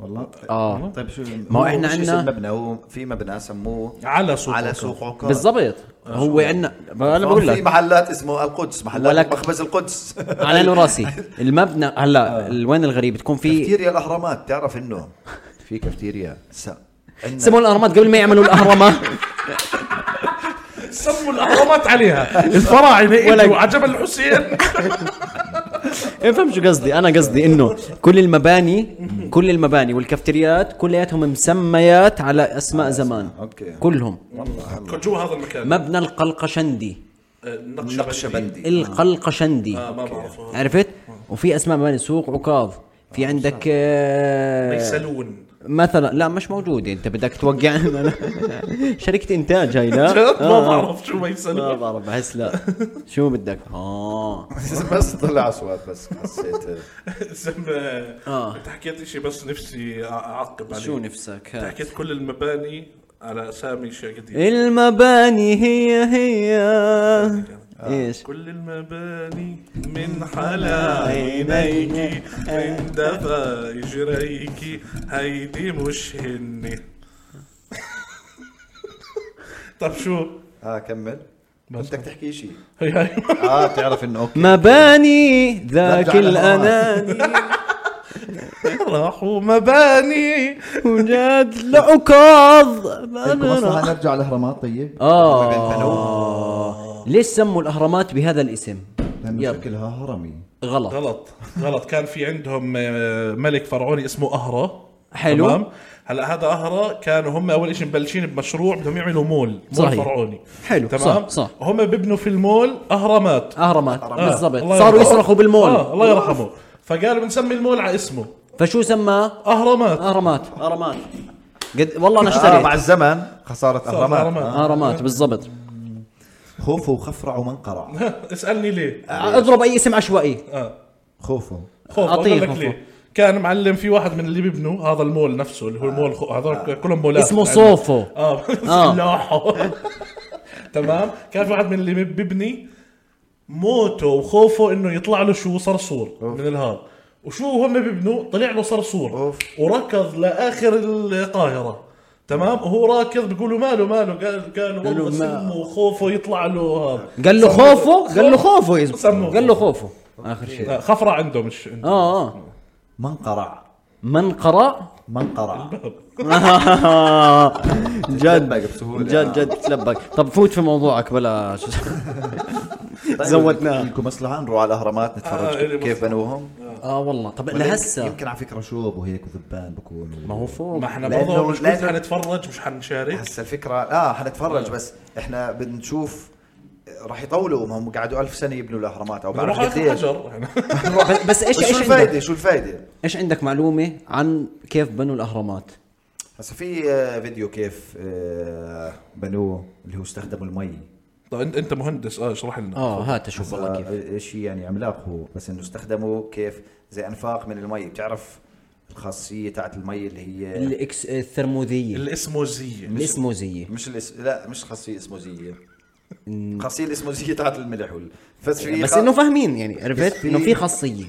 Speaker 2: والله
Speaker 1: اه
Speaker 2: طيب شو
Speaker 1: ما هو إحنا
Speaker 2: مش
Speaker 1: عنا-
Speaker 2: اسم مبنى هو في مبنى سموه
Speaker 3: على سوق
Speaker 2: على
Speaker 3: عكاظ.
Speaker 2: سوق عكاظ
Speaker 1: بالضبط
Speaker 3: آه،
Speaker 1: هو
Speaker 3: يعني؟
Speaker 1: عندنا انا
Speaker 2: بقول
Speaker 1: بقول
Speaker 2: في
Speaker 1: لك
Speaker 2: محلات اسمه القدس محلات
Speaker 1: ولك-
Speaker 2: مخبز القدس
Speaker 1: على راسي المبنى
Speaker 3: آه.
Speaker 1: هلا ال- وين الغريب تكون في
Speaker 2: كافتيريا الاهرامات تعرف انه في كافتيريا س... عندنا
Speaker 1: سموا الاهرامات قبل ما يعملوا الاهرامات
Speaker 3: سموا الاهرامات عليها الفراعنه
Speaker 1: ولا-
Speaker 3: اجوا على جبل الحسين
Speaker 1: افهم شو قصدي انا قصدي انه كل المباني كل المباني والكافتريات كلياتهم مسميات على اسماء زمان
Speaker 2: أوكي.
Speaker 1: كلهم
Speaker 3: كنت جوا هذا المكان
Speaker 1: مبنى القلقشندي
Speaker 2: نقشبندي
Speaker 1: القلقشندي
Speaker 3: آه، ما بعرفه.
Speaker 1: عرفت وفي اسماء مباني سوق عكاظ في عندك آه،
Speaker 3: ميسلون
Speaker 1: مثلا لا مش موجوده انت بدك توقع شركه انتاج هاي لا
Speaker 3: جد ما
Speaker 1: آه، آه.
Speaker 3: بعرف شو
Speaker 1: ما
Speaker 3: ميسلون
Speaker 1: بعرف بحس لا شو بدك اه
Speaker 2: بس طلع اصوات بس حسيت
Speaker 3: اسم
Speaker 1: آه.
Speaker 3: انت حكيت شيء بس نفسي أع- اعقب عليه
Speaker 1: شو نفسك
Speaker 3: انت
Speaker 1: هات.
Speaker 3: حكيت كل المباني على اسامي اشياء قديمه
Speaker 1: المباني هي هي
Speaker 3: آه.
Speaker 1: ايش
Speaker 3: كل المباني من حلا عينيك من دفا جريك هيدي مش هني طب شو
Speaker 2: اه كمل
Speaker 3: بس.
Speaker 2: بدك تحكي شيء
Speaker 3: هي هي
Speaker 2: اه تعرف انه اوكي
Speaker 1: مباني ذاك
Speaker 2: نرجع للأهرامات.
Speaker 1: الاناني
Speaker 3: راحوا مباني
Speaker 1: وجاد لعكاظ
Speaker 3: إيه،
Speaker 2: طيب، نرجع الاهرامات
Speaker 1: آه.
Speaker 2: طيب
Speaker 1: اه ليش سموا الاهرامات بهذا الاسم
Speaker 2: لانه
Speaker 1: يلا.
Speaker 2: شكلها هرمي
Speaker 1: غلط
Speaker 3: غلط غلط كان في عندهم آه، ملك فرعوني اسمه أهرة
Speaker 1: حلو.
Speaker 3: هلا هذا أهرة كانوا هم أول شيء مبلشين بمشروع بدهم يعملوا مول مول
Speaker 1: صحيح.
Speaker 3: فرعوني
Speaker 1: حلو، صح،
Speaker 3: تمام
Speaker 1: صح.
Speaker 3: هم ببنوا في المول أهرامات
Speaker 1: اهرامات
Speaker 3: آه،
Speaker 1: بالضبط
Speaker 3: الله
Speaker 1: صاروا
Speaker 3: يرحمه.
Speaker 1: يصرخوا بالمول
Speaker 3: آه الله يرحمه فقالوا بنسمي المول على اسمه
Speaker 1: فشو سماه
Speaker 3: أهرامات
Speaker 1: اهرامات اهرامات قد والله انا
Speaker 2: آه مع
Speaker 1: اشتريت
Speaker 2: الزمن خساره اهرامات
Speaker 1: اهرامات بالضبط
Speaker 2: خوفوا وخفرعوا منقرع
Speaker 3: اسألني ليه آه.
Speaker 1: اضرب اي اسم عشوائي
Speaker 2: خوفوا
Speaker 3: خوف
Speaker 1: أعطيه
Speaker 3: أقول لك
Speaker 1: خوفه.
Speaker 3: ليه كان معلم في واحد من اللي بيبنوا هذا المول نفسه
Speaker 2: آه.
Speaker 3: اللي هو المول خو... هذول كلهم مولات
Speaker 1: اسمه
Speaker 3: يعني.
Speaker 1: صوفو
Speaker 3: اه
Speaker 1: آه.
Speaker 3: سلاحه تمام كان في واحد من اللي ببني موته وخوفه انه يطلع له شو صرصور من الهار وشو هم ببنوا طلع له صرصور
Speaker 2: أوف.
Speaker 3: وركض لاخر القاهره تمام وهو راكض بيقولوا ماله ماله قال قالوا والله
Speaker 1: ما-
Speaker 3: سمه خوفه يطلع له هذا
Speaker 1: قال له
Speaker 3: سموه-
Speaker 1: خوفه قال له خوفه يا زلمة.
Speaker 3: سموه.
Speaker 1: قال له خوفه اخر شيء آه.
Speaker 3: لا، خفرة عنده مش عنده
Speaker 1: اه اه
Speaker 2: منقرع
Speaker 1: من قرا
Speaker 2: ما انقرع
Speaker 1: جد
Speaker 2: تلبق بسهولة.
Speaker 1: جد جد تلبك طب فوت في موضوعك بلا شو
Speaker 2: طيب.
Speaker 1: زودناه.
Speaker 2: لكم مصلحه نروح على الاهرامات
Speaker 3: آه، إلي
Speaker 2: نتفرج كيف
Speaker 3: مصلحة.
Speaker 2: بنوهم
Speaker 1: اه والله طب
Speaker 2: ولكن-
Speaker 1: لهسه
Speaker 2: يمكن على فكره شوب وهيك وذبان بكون
Speaker 1: ما هو فوق
Speaker 3: ما احنا
Speaker 2: لأنه-
Speaker 3: برضه مش قلت
Speaker 2: لأنه-
Speaker 3: حنتفرج مش حنشارك
Speaker 2: هسا الفكره اه حنتفرج بس احنا بدنا نشوف راح يطولوا ما هم قعدوا ألف سنه يبنوا الاهرامات او
Speaker 3: نروح
Speaker 2: بعرف
Speaker 3: على
Speaker 2: قديش
Speaker 3: الحجر
Speaker 1: بس- بس ايش
Speaker 2: بس شو
Speaker 1: ايش
Speaker 2: الفائده
Speaker 1: عندك
Speaker 2: شو الفائده
Speaker 1: ايش عندك معلومه عن كيف بنوا الاهرامات
Speaker 2: هسا في آه، فيديو كيف آه، بنوه اللي هو استخدموا المي
Speaker 3: طب انت انت مهندس اه اشرح لنا
Speaker 1: اه هات شوف والله كيف
Speaker 2: شيء يعني عملاق هو بس انه استخدموا كيف زي انفاق من المي بتعرف الخاصيه تاعت المي اللي هي
Speaker 1: الإكس الثرموذيه
Speaker 3: الاسموزيه
Speaker 1: الاسموزيه
Speaker 2: مش الاس... لا مش خاصيه اسموزيه خاصيه الاسموزيه تاعت الملح وال... بس في
Speaker 1: بس
Speaker 2: خ-
Speaker 1: انه فاهمين يعني عرفت
Speaker 2: في-
Speaker 1: انه في خاصيه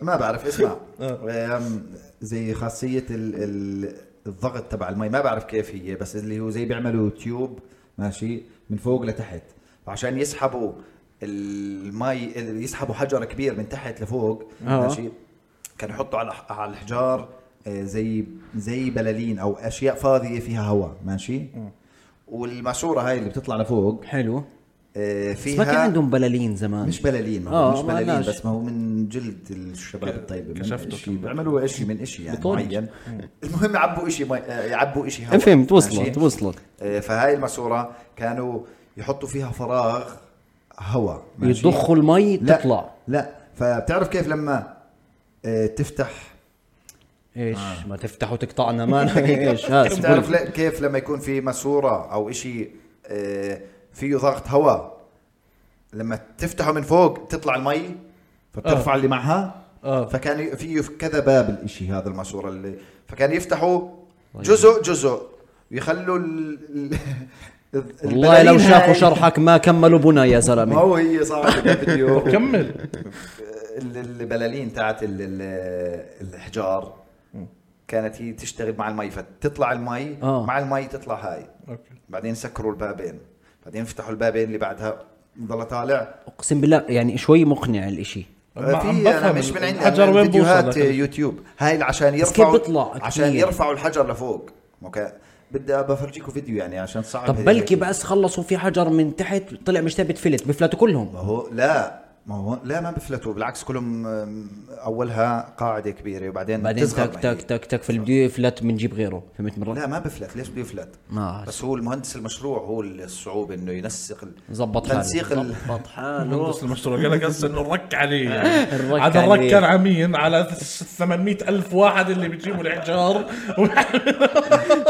Speaker 2: ما بعرف اسمع
Speaker 1: آه.
Speaker 2: أم، زي خاصيه ال... ال... الضغط تبع المي ما بعرف كيف هي بس اللي هو زي بيعملوا تيوب ماشي من فوق لتحت عشان يسحبوا المي ال- يسحبوا حجر كبير من تحت لفوق
Speaker 1: آه.
Speaker 2: ماشي كانوا يحطوا على على الحجار آه، زي زي بلالين او اشياء فاضيه فيها هواء ماشي
Speaker 1: آه.
Speaker 2: والماسوره هاي اللي بتطلع لفوق
Speaker 1: حلو
Speaker 2: آه،
Speaker 1: بس ما كان
Speaker 2: فيها
Speaker 1: عندهم بلالين زمان
Speaker 2: مش بلالين ما
Speaker 1: آه،
Speaker 2: هو مش
Speaker 1: ما
Speaker 2: بلالين
Speaker 1: قلناش.
Speaker 2: بس ما هو من جلد الشباب الطيبه من
Speaker 3: كشفته
Speaker 2: إشي بيعملوا شيء من شيء يعني
Speaker 1: بطولة.
Speaker 2: معين المهم يعبوا شيء مي... آه، يعبوا شيء هواء
Speaker 1: فهمت وصلت
Speaker 2: ماشي؟
Speaker 1: وصلت
Speaker 2: آه، فهاي الماسوره كانوا يحطوا فيها فراغ هواء ماشي؟
Speaker 1: يضخوا المي
Speaker 2: لا،
Speaker 1: تطلع
Speaker 2: لا فبتعرف كيف لما آه، تفتح آه.
Speaker 1: ايش ما تفتح وتقطعنا ما ايش هذا
Speaker 2: بتعرف
Speaker 1: سبل.
Speaker 2: ل- كيف لما يكون في ماسوره او شيء آه، فيه ضغط هواء لما تفتحه من فوق تطلع المي فبترفع اللي معها
Speaker 3: آه.
Speaker 2: فكان ي- فيه كذا باب الاشي هذا الماسوره اللي فكان يفتحوا
Speaker 1: طيب.
Speaker 2: جزء جزء ويخلوا ال... ال... ال-
Speaker 1: والله لو
Speaker 2: البلالين
Speaker 1: شافوا
Speaker 2: هاي-
Speaker 1: شرحك ما كملوا بنا يا
Speaker 2: ما
Speaker 1: زلمه
Speaker 2: هو هي صارت فيديو
Speaker 3: كمل
Speaker 2: ال- البلالين تاعت ال- ال- الحجار كانت هي تشتغل مع المي فتطلع المي
Speaker 1: آه.
Speaker 2: مع المي تطلع هاي
Speaker 3: اوكي
Speaker 2: بعدين سكروا البابين بعدين فتحوا البابين اللي بعدها ضل طالع
Speaker 1: اقسم بالله يعني شوي مقنع الاشي
Speaker 3: ما-
Speaker 2: في
Speaker 3: عم بفهم
Speaker 2: انا مش من عندي
Speaker 3: الحجر
Speaker 2: أنا من
Speaker 3: وين بوصل
Speaker 2: فيديوهات
Speaker 3: لكن.
Speaker 2: يوتيوب هاي اللي عشان
Speaker 1: بس
Speaker 2: يرفعوا
Speaker 1: كيف بيطلع
Speaker 2: عشان
Speaker 1: كتير؟
Speaker 2: يرفعوا الحجر لفوق اوكي بدي بفرجيكم فيديو يعني عشان صعب
Speaker 1: طب
Speaker 2: هيك.
Speaker 1: بلكي بس خلصوا في حجر من تحت طلع مش ثابت فلت بفلتوا كلهم
Speaker 2: ما هو لا ما هو لا ما بفلتوا بالعكس كلهم أم، اولها قاعده كبيره وبعدين
Speaker 1: بعدين
Speaker 2: بتصغر
Speaker 1: تك
Speaker 2: ما هي.
Speaker 1: تك تك تك فاللي بده يفلت بنجيب غيره فهمت مرة
Speaker 2: لا ما بفلت ليش بده يفلت
Speaker 1: ما
Speaker 2: بس هو المهندس المشروع هو الصعوبه انه ينسق ال-
Speaker 1: زبط حاله
Speaker 2: تنسيق ال-
Speaker 1: زبط حاله
Speaker 3: مهندس المشروع قال لك هسه انه الرك عليه يعني
Speaker 1: الرك
Speaker 3: هذا الرك
Speaker 1: عليه.
Speaker 3: كان عمين على 800 ألف واحد اللي بيجيبوا الحجار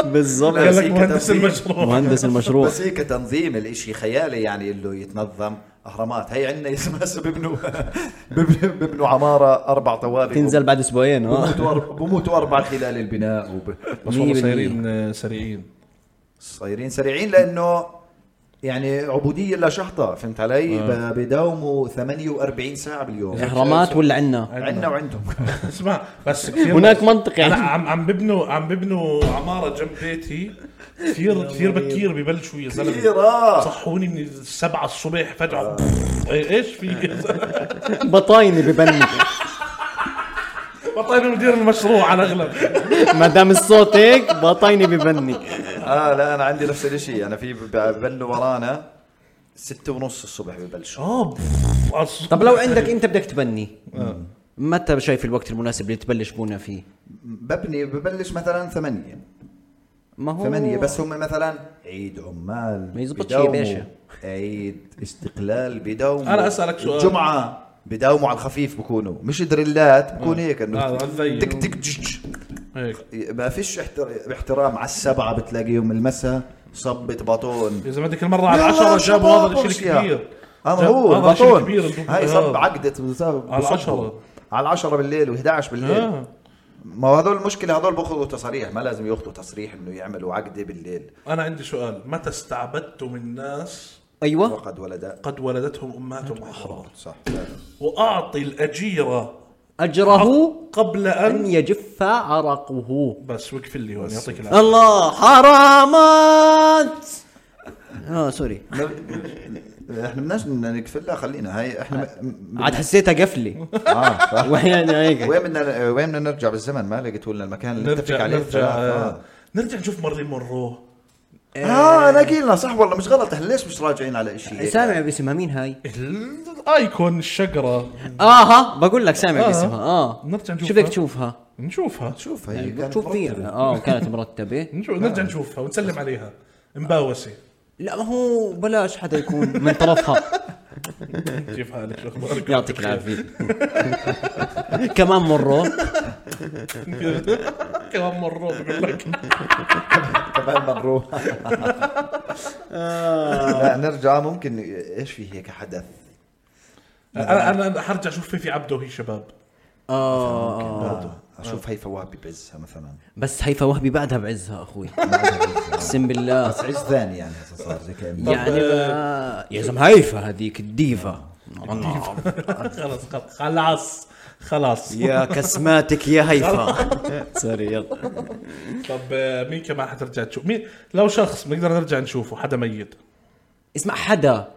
Speaker 1: بالضبط
Speaker 3: قال لك
Speaker 2: هيك
Speaker 3: مهندس
Speaker 2: تنظيم.
Speaker 3: المشروع
Speaker 1: مهندس المشروع
Speaker 2: بس هيك تنظيم الاشي خيالي يعني اللي يتنظم اهرامات هي عندنا اسمها هسه ببنوا ببنوا- ببنوا عماره اربع طوابق
Speaker 1: تنزل بعد اسبوعين اه
Speaker 2: بموتوا أربع- بموتوا اربع خلال البناء وب...
Speaker 3: بس والله
Speaker 1: 100%
Speaker 3: صايرين سريعين
Speaker 2: صايرين سريعين لانه يعني عبوديه لا شحطه فهمت علي؟ ب- بداوموا 48 ساعه باليوم
Speaker 1: اهرامات ولا عنا
Speaker 2: عندنا وعندهم
Speaker 3: اسمع بس كثير
Speaker 1: هناك منطق
Speaker 3: انا
Speaker 1: يعني
Speaker 3: عم عم ببنوا عم ببنوا عماره جنب بيتي كثير كثير بكير ببلشوا يا زلمه
Speaker 2: كثير آه.
Speaker 3: صحوني من السبعة الصبح فجأة إيه- ايش في
Speaker 1: بطايني ببني
Speaker 3: بطلنا مدير المشروع على الاغلب
Speaker 1: ما دام الصوت هيك بطايني ببني
Speaker 2: اه لا انا عندي نفس الشيء انا في ب- ببلوا ورانا ستة ونص الصبح ببلشوا
Speaker 3: اه
Speaker 1: طب لو عندك انت بدك تبني آه. متى شايف الوقت المناسب اللي تبلش بونا فيه
Speaker 2: ببني ببلش مثلا ثمانية
Speaker 1: ما هو
Speaker 2: ثمانية بس هم مثلا عيد عمال
Speaker 1: ما يزبطش
Speaker 2: بداوموا.
Speaker 1: يا باشا.
Speaker 2: عيد استقلال بداوموا
Speaker 3: أنا أسألك سؤال.
Speaker 2: الجمعة بداوموا على الخفيف بكونوا مش دريلات بكون هيك
Speaker 3: آه،
Speaker 2: انه
Speaker 3: هالذي.
Speaker 2: تك تك جج.
Speaker 3: هيك
Speaker 2: ما فيش احتر- احترام على السبعة بتلاقيهم المساء صبة باطون
Speaker 3: اذا بدك المره على
Speaker 2: لا،
Speaker 3: 10
Speaker 2: شباب
Speaker 3: جابوا هذا الشيء
Speaker 2: روسيا.
Speaker 3: الكبير
Speaker 2: اما
Speaker 3: جاب-
Speaker 2: هو
Speaker 3: هذا الشيء
Speaker 2: البطون
Speaker 3: الكبير اللي
Speaker 2: هاي صب
Speaker 3: آه.
Speaker 2: عقدة
Speaker 3: على العشرة.
Speaker 2: على 10 بالليل و11 بالليل
Speaker 3: آه.
Speaker 2: ما هو هذول المشكلة هذول بياخذوا تصاريح ما لازم ياخذوا تصريح انه يعملوا عقدة بالليل
Speaker 3: انا عندي سؤال متى استعبدتم الناس
Speaker 1: ايوه
Speaker 2: وقد ولد
Speaker 3: قد ولدتهم امهاتهم احرار
Speaker 2: صح
Speaker 3: واعطي الاجيره
Speaker 1: اجره
Speaker 2: أه.
Speaker 3: قبل
Speaker 1: ان
Speaker 3: ان
Speaker 1: يجف عرقه
Speaker 3: بس وقف لي هون يعطيك
Speaker 1: أه.
Speaker 3: العافيه
Speaker 1: آه، الله حرامات اه سوري
Speaker 7: احنا بدناش نقفلها خلينا هاي احنا م- م-
Speaker 1: عاد حسيتها قفله
Speaker 7: اه صح.
Speaker 1: وين هيك
Speaker 7: وين بدنا وين بدنا نرجع بالزمن ما لقيت لنا المكان اللي نتفق
Speaker 3: نرجع
Speaker 7: عليه
Speaker 3: نرجع
Speaker 7: آه.
Speaker 3: آه. نرجع نشوف مارلين مونرو
Speaker 7: اه لاقي لنا صح والله مش غلط احنا ليش مش راجعين على شيء
Speaker 1: سامع باسمها مين هاي؟
Speaker 3: الايكون الشجره
Speaker 1: اها بقول لك سامع
Speaker 3: آه.
Speaker 1: باسمها اه
Speaker 3: نرجع نشوفها.
Speaker 1: شو بدك تشوفها؟
Speaker 3: نشوفها شوف
Speaker 7: شوف هي كانت
Speaker 1: شوف يعني فيها
Speaker 7: مرتبة.
Speaker 1: اه كانت مرتبه
Speaker 3: نشوف نرجع نشوفها ونسلم عليها مباوسه
Speaker 1: لا ما هو بلاش حدا يكون من طرفها
Speaker 3: كيف حالك شو اخبارك
Speaker 1: يعطيك العافيه كمان مره
Speaker 3: كمان مره بقول لك
Speaker 7: كمان مبروك
Speaker 3: آه.
Speaker 7: لا نرجع ممكن ايش في هيك حدث
Speaker 3: انا انا أنا حرجع اشوف فيفي عبده وهي شباب
Speaker 1: اه
Speaker 7: برضه اشوف هيفا وهبي بعزها مثلا
Speaker 1: بس هيفا وهبي بعدها بعزها اخوي اقسم بالله
Speaker 2: بس عز ثاني يعني هسه صار زي كانه
Speaker 1: يعني ما- يا زلمه هيفا هذيك الديفا
Speaker 3: خلص خلص خلاص خلاص
Speaker 1: يا كسماتك يا هيفا سوري يلا
Speaker 3: طب آه، مين كمان حترجع تشوف مين لو شخص بنقدر نرجع نشوفه حدا ميت
Speaker 1: اسمع حدا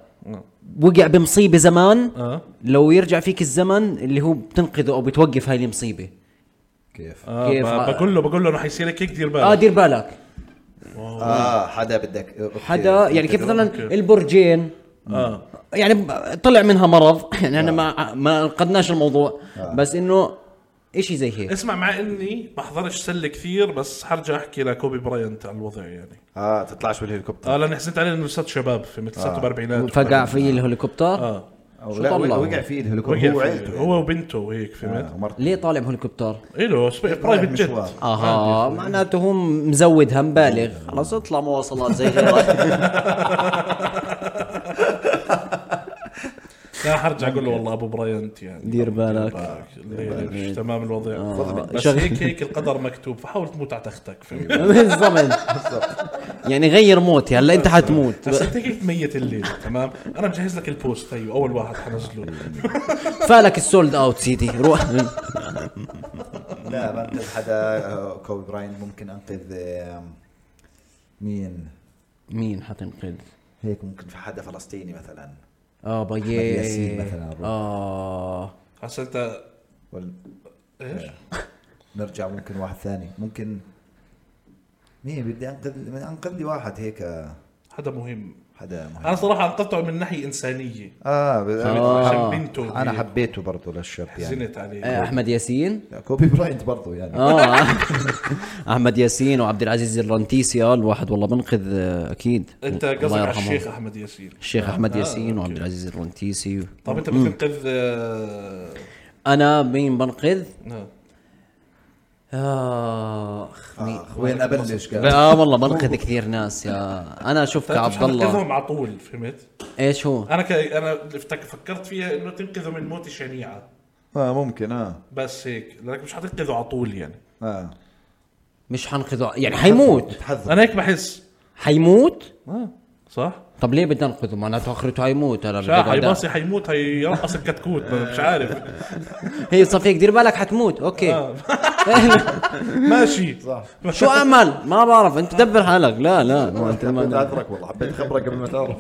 Speaker 1: وقع بمصيبه زمان
Speaker 3: اه
Speaker 1: لو يرجع فيك الزمن اللي هو بتنقذه او بتوقف هاي المصيبه
Speaker 2: كيف
Speaker 3: آه
Speaker 1: كيف؟
Speaker 3: ب- بقول له بقول له انه حيصير لك هيك دير
Speaker 1: اه
Speaker 3: بالك
Speaker 1: دير بالك
Speaker 7: اه حدا بدك أوكي.
Speaker 1: حدا يعني كيف مثلا
Speaker 3: أوكي.
Speaker 1: البرجين
Speaker 3: اه
Speaker 1: يعني ب- طلع منها مرض يعني انا ما ما قدناش الموضوع بس انه اشي زي هيك
Speaker 3: اسمع مع اني بحضرش سله كثير بس حرجع احكي لكوبي براينت على الوضع يعني
Speaker 7: اه تطلعش بالهليكوبتر
Speaker 2: آه،
Speaker 3: اه لان حسيت عليه انه لساته شباب في مثل
Speaker 1: آه.
Speaker 3: ساته بالاربعينات
Speaker 1: فقع في الهليكوبتر
Speaker 3: اه
Speaker 7: أو
Speaker 1: شو
Speaker 7: لا
Speaker 1: طلعوا؟
Speaker 7: وقع فيه الهليكوبتر
Speaker 3: وقع
Speaker 7: هو
Speaker 3: هو,
Speaker 7: عيلته
Speaker 3: هو وبنته وهيك فهمت إيه
Speaker 7: ومرته
Speaker 1: ليه طالع بهليكوبتر
Speaker 3: اله سبي- برايفت
Speaker 7: مشوار.
Speaker 3: جيت
Speaker 1: اها معناته هو مزود هم بالغ آه. خلاص اطلع مواصلات زي غيرك
Speaker 3: لا حرجع اقول له والله ابو براينت يعني
Speaker 1: دير بالك آه،
Speaker 3: آه، اللي- مش تمام الوضع بس
Speaker 1: شغل-
Speaker 3: هيك هيك القدر مكتوب فحاول تموت على تختك فهمت
Speaker 1: بالضبط يعني غير موتي هلا انت حتموت
Speaker 3: بس انت هيك ميت الليله تمام انا مجهز لك البوست هيو اول واحد حنزله
Speaker 1: فالك السولد اوت سيدي روح
Speaker 2: لا ما انقذ حدا آه، كوبي براين ممكن انقذ آه، مين
Speaker 1: مين حتنقذ؟
Speaker 2: هيك ممكن في حدا فلسطيني مثلا
Speaker 1: اه
Speaker 2: ياسين
Speaker 1: بيي
Speaker 2: مثلا روح.
Speaker 1: اه
Speaker 3: هسا انت
Speaker 2: ولا
Speaker 3: ايش؟
Speaker 2: نرجع ممكن واحد ثاني ممكن مين بدي انقذ بدي انقذ لي واحد هيك آه،
Speaker 3: حدا مهم
Speaker 2: حدا مهم
Speaker 3: انا صراحه انقطعه من ناحيه انسانيه
Speaker 7: اه,
Speaker 3: آه.
Speaker 7: آه.
Speaker 3: عشان بنته
Speaker 7: انا
Speaker 3: هي.
Speaker 7: حبيته برضه للشاب يعني
Speaker 3: زنت عليه
Speaker 1: آه، احمد ياسين
Speaker 2: لا، كوبي براينت برضه يعني
Speaker 1: اه احمد ياسين وعبد العزيز الرنتيسي آه، الواحد والله بنقذ آه، اكيد
Speaker 3: انت
Speaker 1: الله
Speaker 3: قصدك على
Speaker 1: يرحمه.
Speaker 3: الشيخ احمد ياسين
Speaker 1: الشيخ احمد ياسين
Speaker 3: أوكي.
Speaker 1: وعبد العزيز الرنتيسي و...
Speaker 3: طب انت بتنقذ آه،
Speaker 1: انا مين بنقذ؟
Speaker 3: آه.
Speaker 1: آه خني-
Speaker 2: آخ، وين ابلش قال
Speaker 1: لا آه والله بنقذ كثير ناس يا انا شفت
Speaker 3: طيب
Speaker 1: عبد الله
Speaker 3: تنقذهم على طول فهمت؟
Speaker 1: ايش هو؟
Speaker 3: انا ك... انا افتك- فكرت فيها انه تنقذه من موت شنيعه
Speaker 7: اه ممكن اه
Speaker 3: بس هيك لانك مش حتنقذه على طول يعني
Speaker 7: اه
Speaker 1: مش حنقذه يعني حيموت
Speaker 2: تحذر
Speaker 3: انا هيك بحس
Speaker 1: حيموت؟
Speaker 3: اه صح؟
Speaker 1: طب ليه بدي انقذه؟ معناته اخرته حيموت انا بدي
Speaker 3: شاح
Speaker 1: أقعد-
Speaker 3: حيباصي حيموت هيرقص الكتكوت أنا مش عارف
Speaker 1: هي صفيك دير بالك حتموت اوكي
Speaker 3: آه. ماشي صح
Speaker 1: شو اعمل ما بعرف انت دبر حالك لا لا ما انت
Speaker 7: حبيت
Speaker 1: ما
Speaker 7: اعذرك والله حبيت خبرك قبل ما تعرف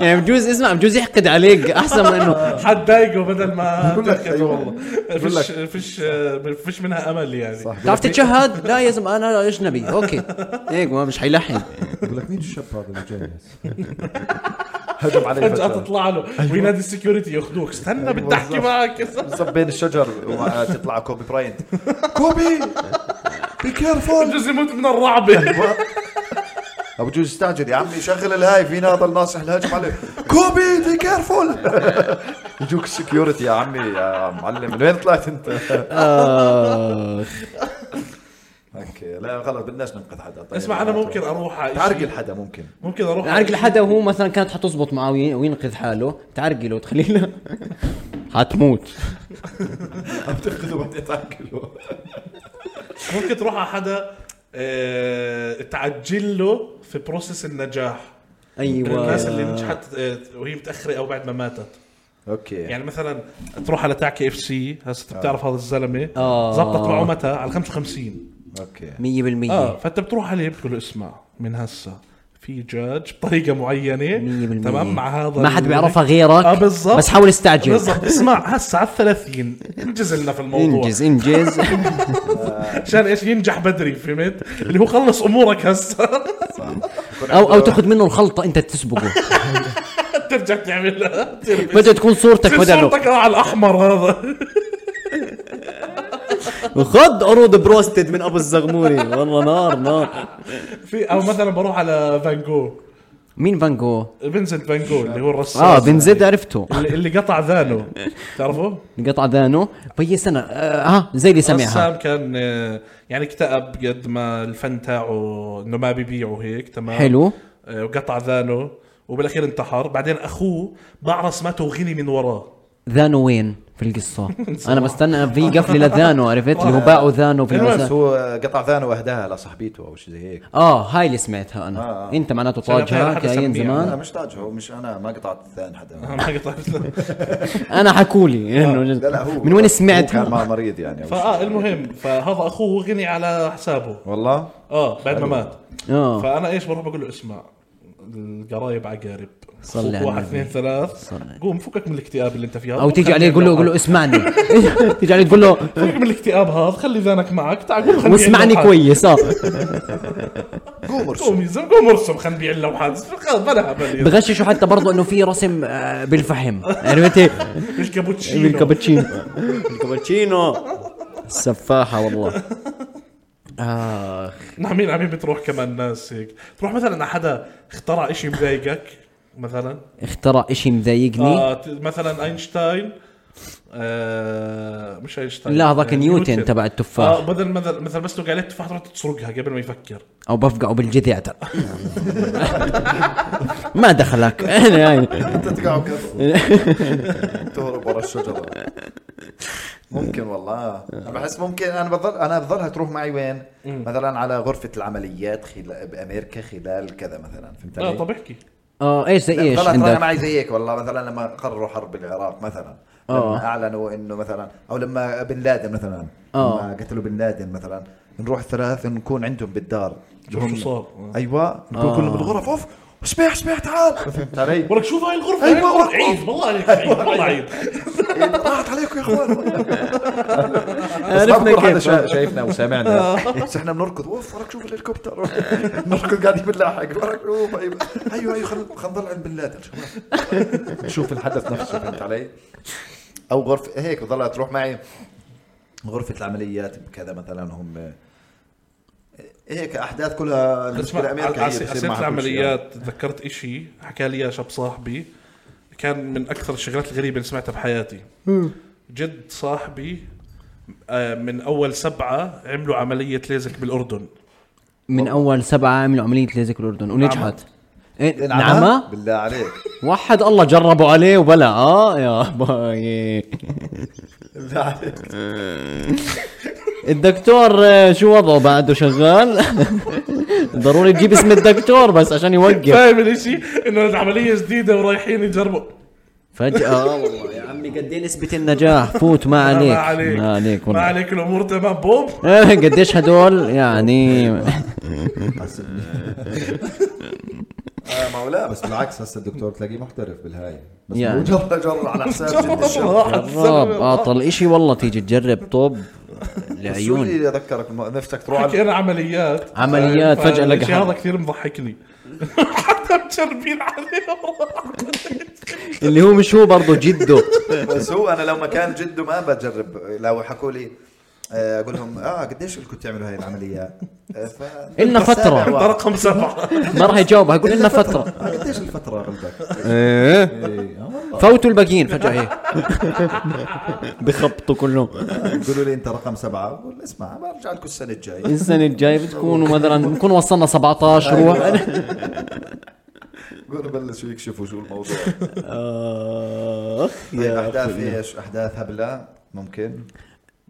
Speaker 1: يعني بجوز اسمع بجوز يحقد عليك احسن من انه
Speaker 3: حد ضايقه بدل ما
Speaker 7: بقول لك
Speaker 3: تنقذه
Speaker 7: أيوة.
Speaker 3: والله
Speaker 7: بقول
Speaker 3: فيش فيش آه، فيش منها امل يعني صح
Speaker 1: بتعرف تتشهد لا يا زلمه انا اجنبي اوكي هيك ما مش حيلحن
Speaker 2: بقول لك مين الشاب هذا اللي جاي هسه؟ هجم علي
Speaker 3: فجأة
Speaker 7: أيوة.
Speaker 2: فجأة.
Speaker 3: تطلع له وينادي السكيورتي ياخذوك استنى بدي احكي معك
Speaker 7: بالضبط بين الشجر وتطلع كوبي براينت كوبي بي كيرفول
Speaker 3: بجوز يموت من الرعبة
Speaker 7: ابو جوز استعجل يا عمي شغل الهاي في هذا الناصح الهجم عليه كوبي بي كيرفول يجوك السكيورتي يا عمي يا معلم من وين طلعت انت؟ اوكي لا غلط بدناش ننقذ حدا طيب
Speaker 3: اسمع انا ممكن اروح على إشي-
Speaker 7: تعرقل حدا ممكن
Speaker 3: ممكن اروح على
Speaker 1: تعرقل حدا وهو مثلا كانت حتزبط معه وي- وينقذ حاله تعرقله وتخليه له حتموت
Speaker 7: تاخذه بدي تاكله
Speaker 3: ممكن تروح على حدا آه، تعجل له في بروسيس النجاح من الناس اللي
Speaker 1: ايوه
Speaker 3: نجحت آه، وهي متاخره او بعد ما ماتت
Speaker 7: اوكي
Speaker 3: يعني مثلا تروح على تاكي اف سي هسه أنت بتعرف هذا الزلمه
Speaker 1: آه.
Speaker 3: زبطت معه متى على آه، 55
Speaker 7: اوكي
Speaker 1: 100% إيه.
Speaker 3: اه فانت بتروح عليه بتقول له اسمع من هسه في جاج بطريقه معينه
Speaker 1: 100%
Speaker 3: تمام مع هذا
Speaker 1: ما حد
Speaker 3: ال-
Speaker 1: بيعرفها غيرك
Speaker 3: اه بالضبط
Speaker 1: بس حاول استعجل
Speaker 3: بالضبط اسمع هسه على ال 30 انجز لنا في الموضوع
Speaker 1: انجز انجز
Speaker 3: عشان ايش ينجح بدري فهمت؟ اللي هو خلص امورك هسه
Speaker 1: او او تاخذ منه الخلطه انت تسبقه
Speaker 3: ترجع تعملها
Speaker 1: بدها تكون صورتك بدله
Speaker 3: صورتك على الاحمر هذا
Speaker 1: خد عروض بروستد من ابو الزغموري والله نار نار
Speaker 3: في او مثلا بروح على فان جو
Speaker 1: مين فان جو؟
Speaker 3: فينسنت فان جو اللي هو الرسام يعني،
Speaker 1: اه بن زيد عرفته
Speaker 3: اللي اللي قطع ذانه تعرفه؟
Speaker 1: قطع ذانه بي سنه آه ها زي اللي سمعها
Speaker 3: رسام كان آه، يعني اكتئب قد ما الفن تاعه انه ما بيبيعه هيك تمام
Speaker 1: حلو
Speaker 3: آه، وقطع ذانه وبالاخير انتحر بعدين اخوه باع رسمته وغني من وراه
Speaker 1: ذانو وين في القصه؟ انا بستنى في قفله لذانو عرفت اللي هو باعوا ذانو في
Speaker 2: بس
Speaker 1: المسا...
Speaker 2: هو قطع ثاني واهداها لصاحبيته او شيء زي هيك
Speaker 1: اه هاي اللي سمعتها انا
Speaker 2: آه.
Speaker 1: انت معناته
Speaker 3: عشان أتخيل
Speaker 1: طاجها
Speaker 3: حدا
Speaker 1: كاين
Speaker 3: سميع.
Speaker 2: لا
Speaker 1: زمان
Speaker 2: مش تاجه مش انا ما قطعت الثاني حدا
Speaker 3: ما قطع ذانه.
Speaker 1: انا حكولي انه
Speaker 2: لا لا هو
Speaker 1: من وين
Speaker 2: هو كان
Speaker 1: سمعتها؟
Speaker 2: مع مريض يعني أو
Speaker 3: فاه
Speaker 2: شيء.
Speaker 3: المهم فهذا اخوه غني على حسابه
Speaker 2: والله
Speaker 3: اه بعد ما مات
Speaker 1: اه
Speaker 3: فانا ايش بروح بقول له اسمع القرايب عقارب
Speaker 1: صلي
Speaker 3: صلي
Speaker 1: على
Speaker 3: واحد
Speaker 1: النبي.
Speaker 3: اثنين ثلاث قوم فكك من الاكتئاب اللي انت فيها
Speaker 1: او تيجي عليه تقول له قول له اسمعني تيجي عليه تقول له
Speaker 3: فكك من الاكتئاب هذا خلي ذانك معك تعال قوم خلي
Speaker 1: واسمعني كويس اه
Speaker 2: قوم ارسم
Speaker 3: قوم يزم قوم ارسم خلينا نبيع اللوحات خلص بلا هبل
Speaker 1: بغششوا حتى برضه انه في رسم آه، بالفحم عرفت
Speaker 3: مش كابوتشينو
Speaker 1: بالكابتشينو الكابتشينو السفاحه والله اخ
Speaker 3: نعم مين عمين بتروح كمان ناس هيك تروح مثلا على حدا اخترع اشي مضايقك مثلا
Speaker 1: اخترع اشي مضايقني
Speaker 3: آه ت- مثلا اينشتاين آه مش اينشتاين
Speaker 1: لا هذاك
Speaker 3: آه،
Speaker 1: نيوتن تبع التفاح
Speaker 3: اه بدل مثلا مثلا بس لو عليه التفاح تروح تسرقها قبل ما يفكر
Speaker 1: او بفقعه بالجذع ترى. ما دخلك أنا يعني
Speaker 2: انت تقعد تهرب ورا الشجره ممكن والله انا بحس ممكن انا بضل انا بضلها تروح معي وين؟ مثلا على غرفه العمليات خلال بامريكا خلال كذا مثلا فهمت
Speaker 3: لا
Speaker 2: علي؟
Speaker 3: طب احكي
Speaker 1: اه ايش زي ايش
Speaker 2: غلط انا
Speaker 1: عندك
Speaker 2: معي زيك والله مثلا لما قرروا حرب العراق مثلا
Speaker 1: آه.
Speaker 2: لما اعلنوا انه مثلا او لما بن لادن مثلا
Speaker 1: آه.
Speaker 2: لما قتلوا بن لادن مثلا نروح ثلاث نكون عندهم بالدار
Speaker 3: شوف شو صار
Speaker 2: ايوه نكون
Speaker 1: آه.
Speaker 2: كلنا بالغرف اوف صبيح صبيح تعال فهمت علي؟
Speaker 3: ولك شوف هاي الغرفه
Speaker 2: أيوة،
Speaker 3: هاي الغرفة.
Speaker 2: أيوة.
Speaker 3: عيد والله عليك عيد والله عيد
Speaker 2: راحت عليكم يا اخوان
Speaker 1: عرفنا
Speaker 2: عرفنا كيف
Speaker 1: كيف.
Speaker 2: شا... شايفنا وسامعنا بس احنا بنركض اوف وراك شوف الهليكوبتر نركض قاعدين بنلاحق وراك اوف ايوه ايوه ايوه خل خل نضل عند بن لادن شباب. نشوف الحدث نفسه فهمت علي؟ او غرفه هيك ضلها تروح معي غرفه العمليات بكذا مثلا هم إيه، هيك احداث كلها المشكله
Speaker 3: اسمع
Speaker 2: امريكا هي بتصير
Speaker 3: عسيرة
Speaker 2: معها كل شيء.
Speaker 1: يعني.
Speaker 3: العمليات تذكرت اشي حكى لي اياه شاب صاحبي كان من اكثر الشغلات الغريبه اللي سمعتها بحياتي جد صاحبي آه، من اول سبعه عملوا عمليه ليزك بالاردن
Speaker 1: من اول سبعه عملوا عمليه ليزك الاردن ونجحت إيه، نعمة؟
Speaker 2: نعمة؟ بالله عليك
Speaker 1: وحد الله جربوا عليه وبلا اه يا باي
Speaker 2: بالله عليك
Speaker 1: الدكتور آه، شو وضعه بعده شغال ضروري تجيب اسم الدكتور بس عشان يوقف
Speaker 3: فاهم الاشي انه العمليه جديده ورايحين يجربوا
Speaker 1: فجأة آه والله يا عمي قد ايه نسبة النجاح فوت ما
Speaker 3: آه،
Speaker 1: عليك
Speaker 3: ما عليك
Speaker 1: ما عليك
Speaker 3: ما
Speaker 1: والله
Speaker 3: عليك الامور تمام بوب
Speaker 1: إيه، قديش هدول يعني
Speaker 2: آه، ما هو لا بس
Speaker 8: بس بالعكس هسه الدكتور تلاقيه محترف بالهاي بس
Speaker 1: يعني.
Speaker 8: يعني.
Speaker 2: جرى جرى على حساب جد الشر
Speaker 1: جرب اعطل اشي والله تيجي تجرب طب لعيون
Speaker 2: السوري اذكرك الم- نفسك تروح على
Speaker 3: حكي انا عمليات
Speaker 1: عمليات،
Speaker 3: فالإشي
Speaker 1: فجأة لقى حالك.
Speaker 3: هذا كثير مضحكني حتى مجربين عليه
Speaker 1: اللي هو مش هو برضه جده
Speaker 2: بس هو انا لو مكان جده ما بجرب لو حكوا لي آه، اقول لهم اه قديش كنتوا تعملوا هاي العمليات؟ آه، ف-
Speaker 1: إلنا
Speaker 2: أنت
Speaker 1: فترة.
Speaker 2: سابع
Speaker 3: انت
Speaker 2: واحد.
Speaker 3: رقم سبعه
Speaker 1: ما راح يجاوب هيقول لنا فترة
Speaker 2: آه، قديش الفترة قلبك؟
Speaker 1: فوتوا إيه. الباقيين فجأة هيك بخبطوا كلهم
Speaker 2: يقولوا لي انت رقم سبعة بقول اسمع برجع لكم السنة الجاية
Speaker 1: السنة الجاية بتكونوا مثلا بنكون وصلنا 17 روح
Speaker 2: يقولوا بلشوا يكشفوا شو الموضوع
Speaker 1: اخ
Speaker 2: طيب، احداث ايش؟ احداث هبلة ممكن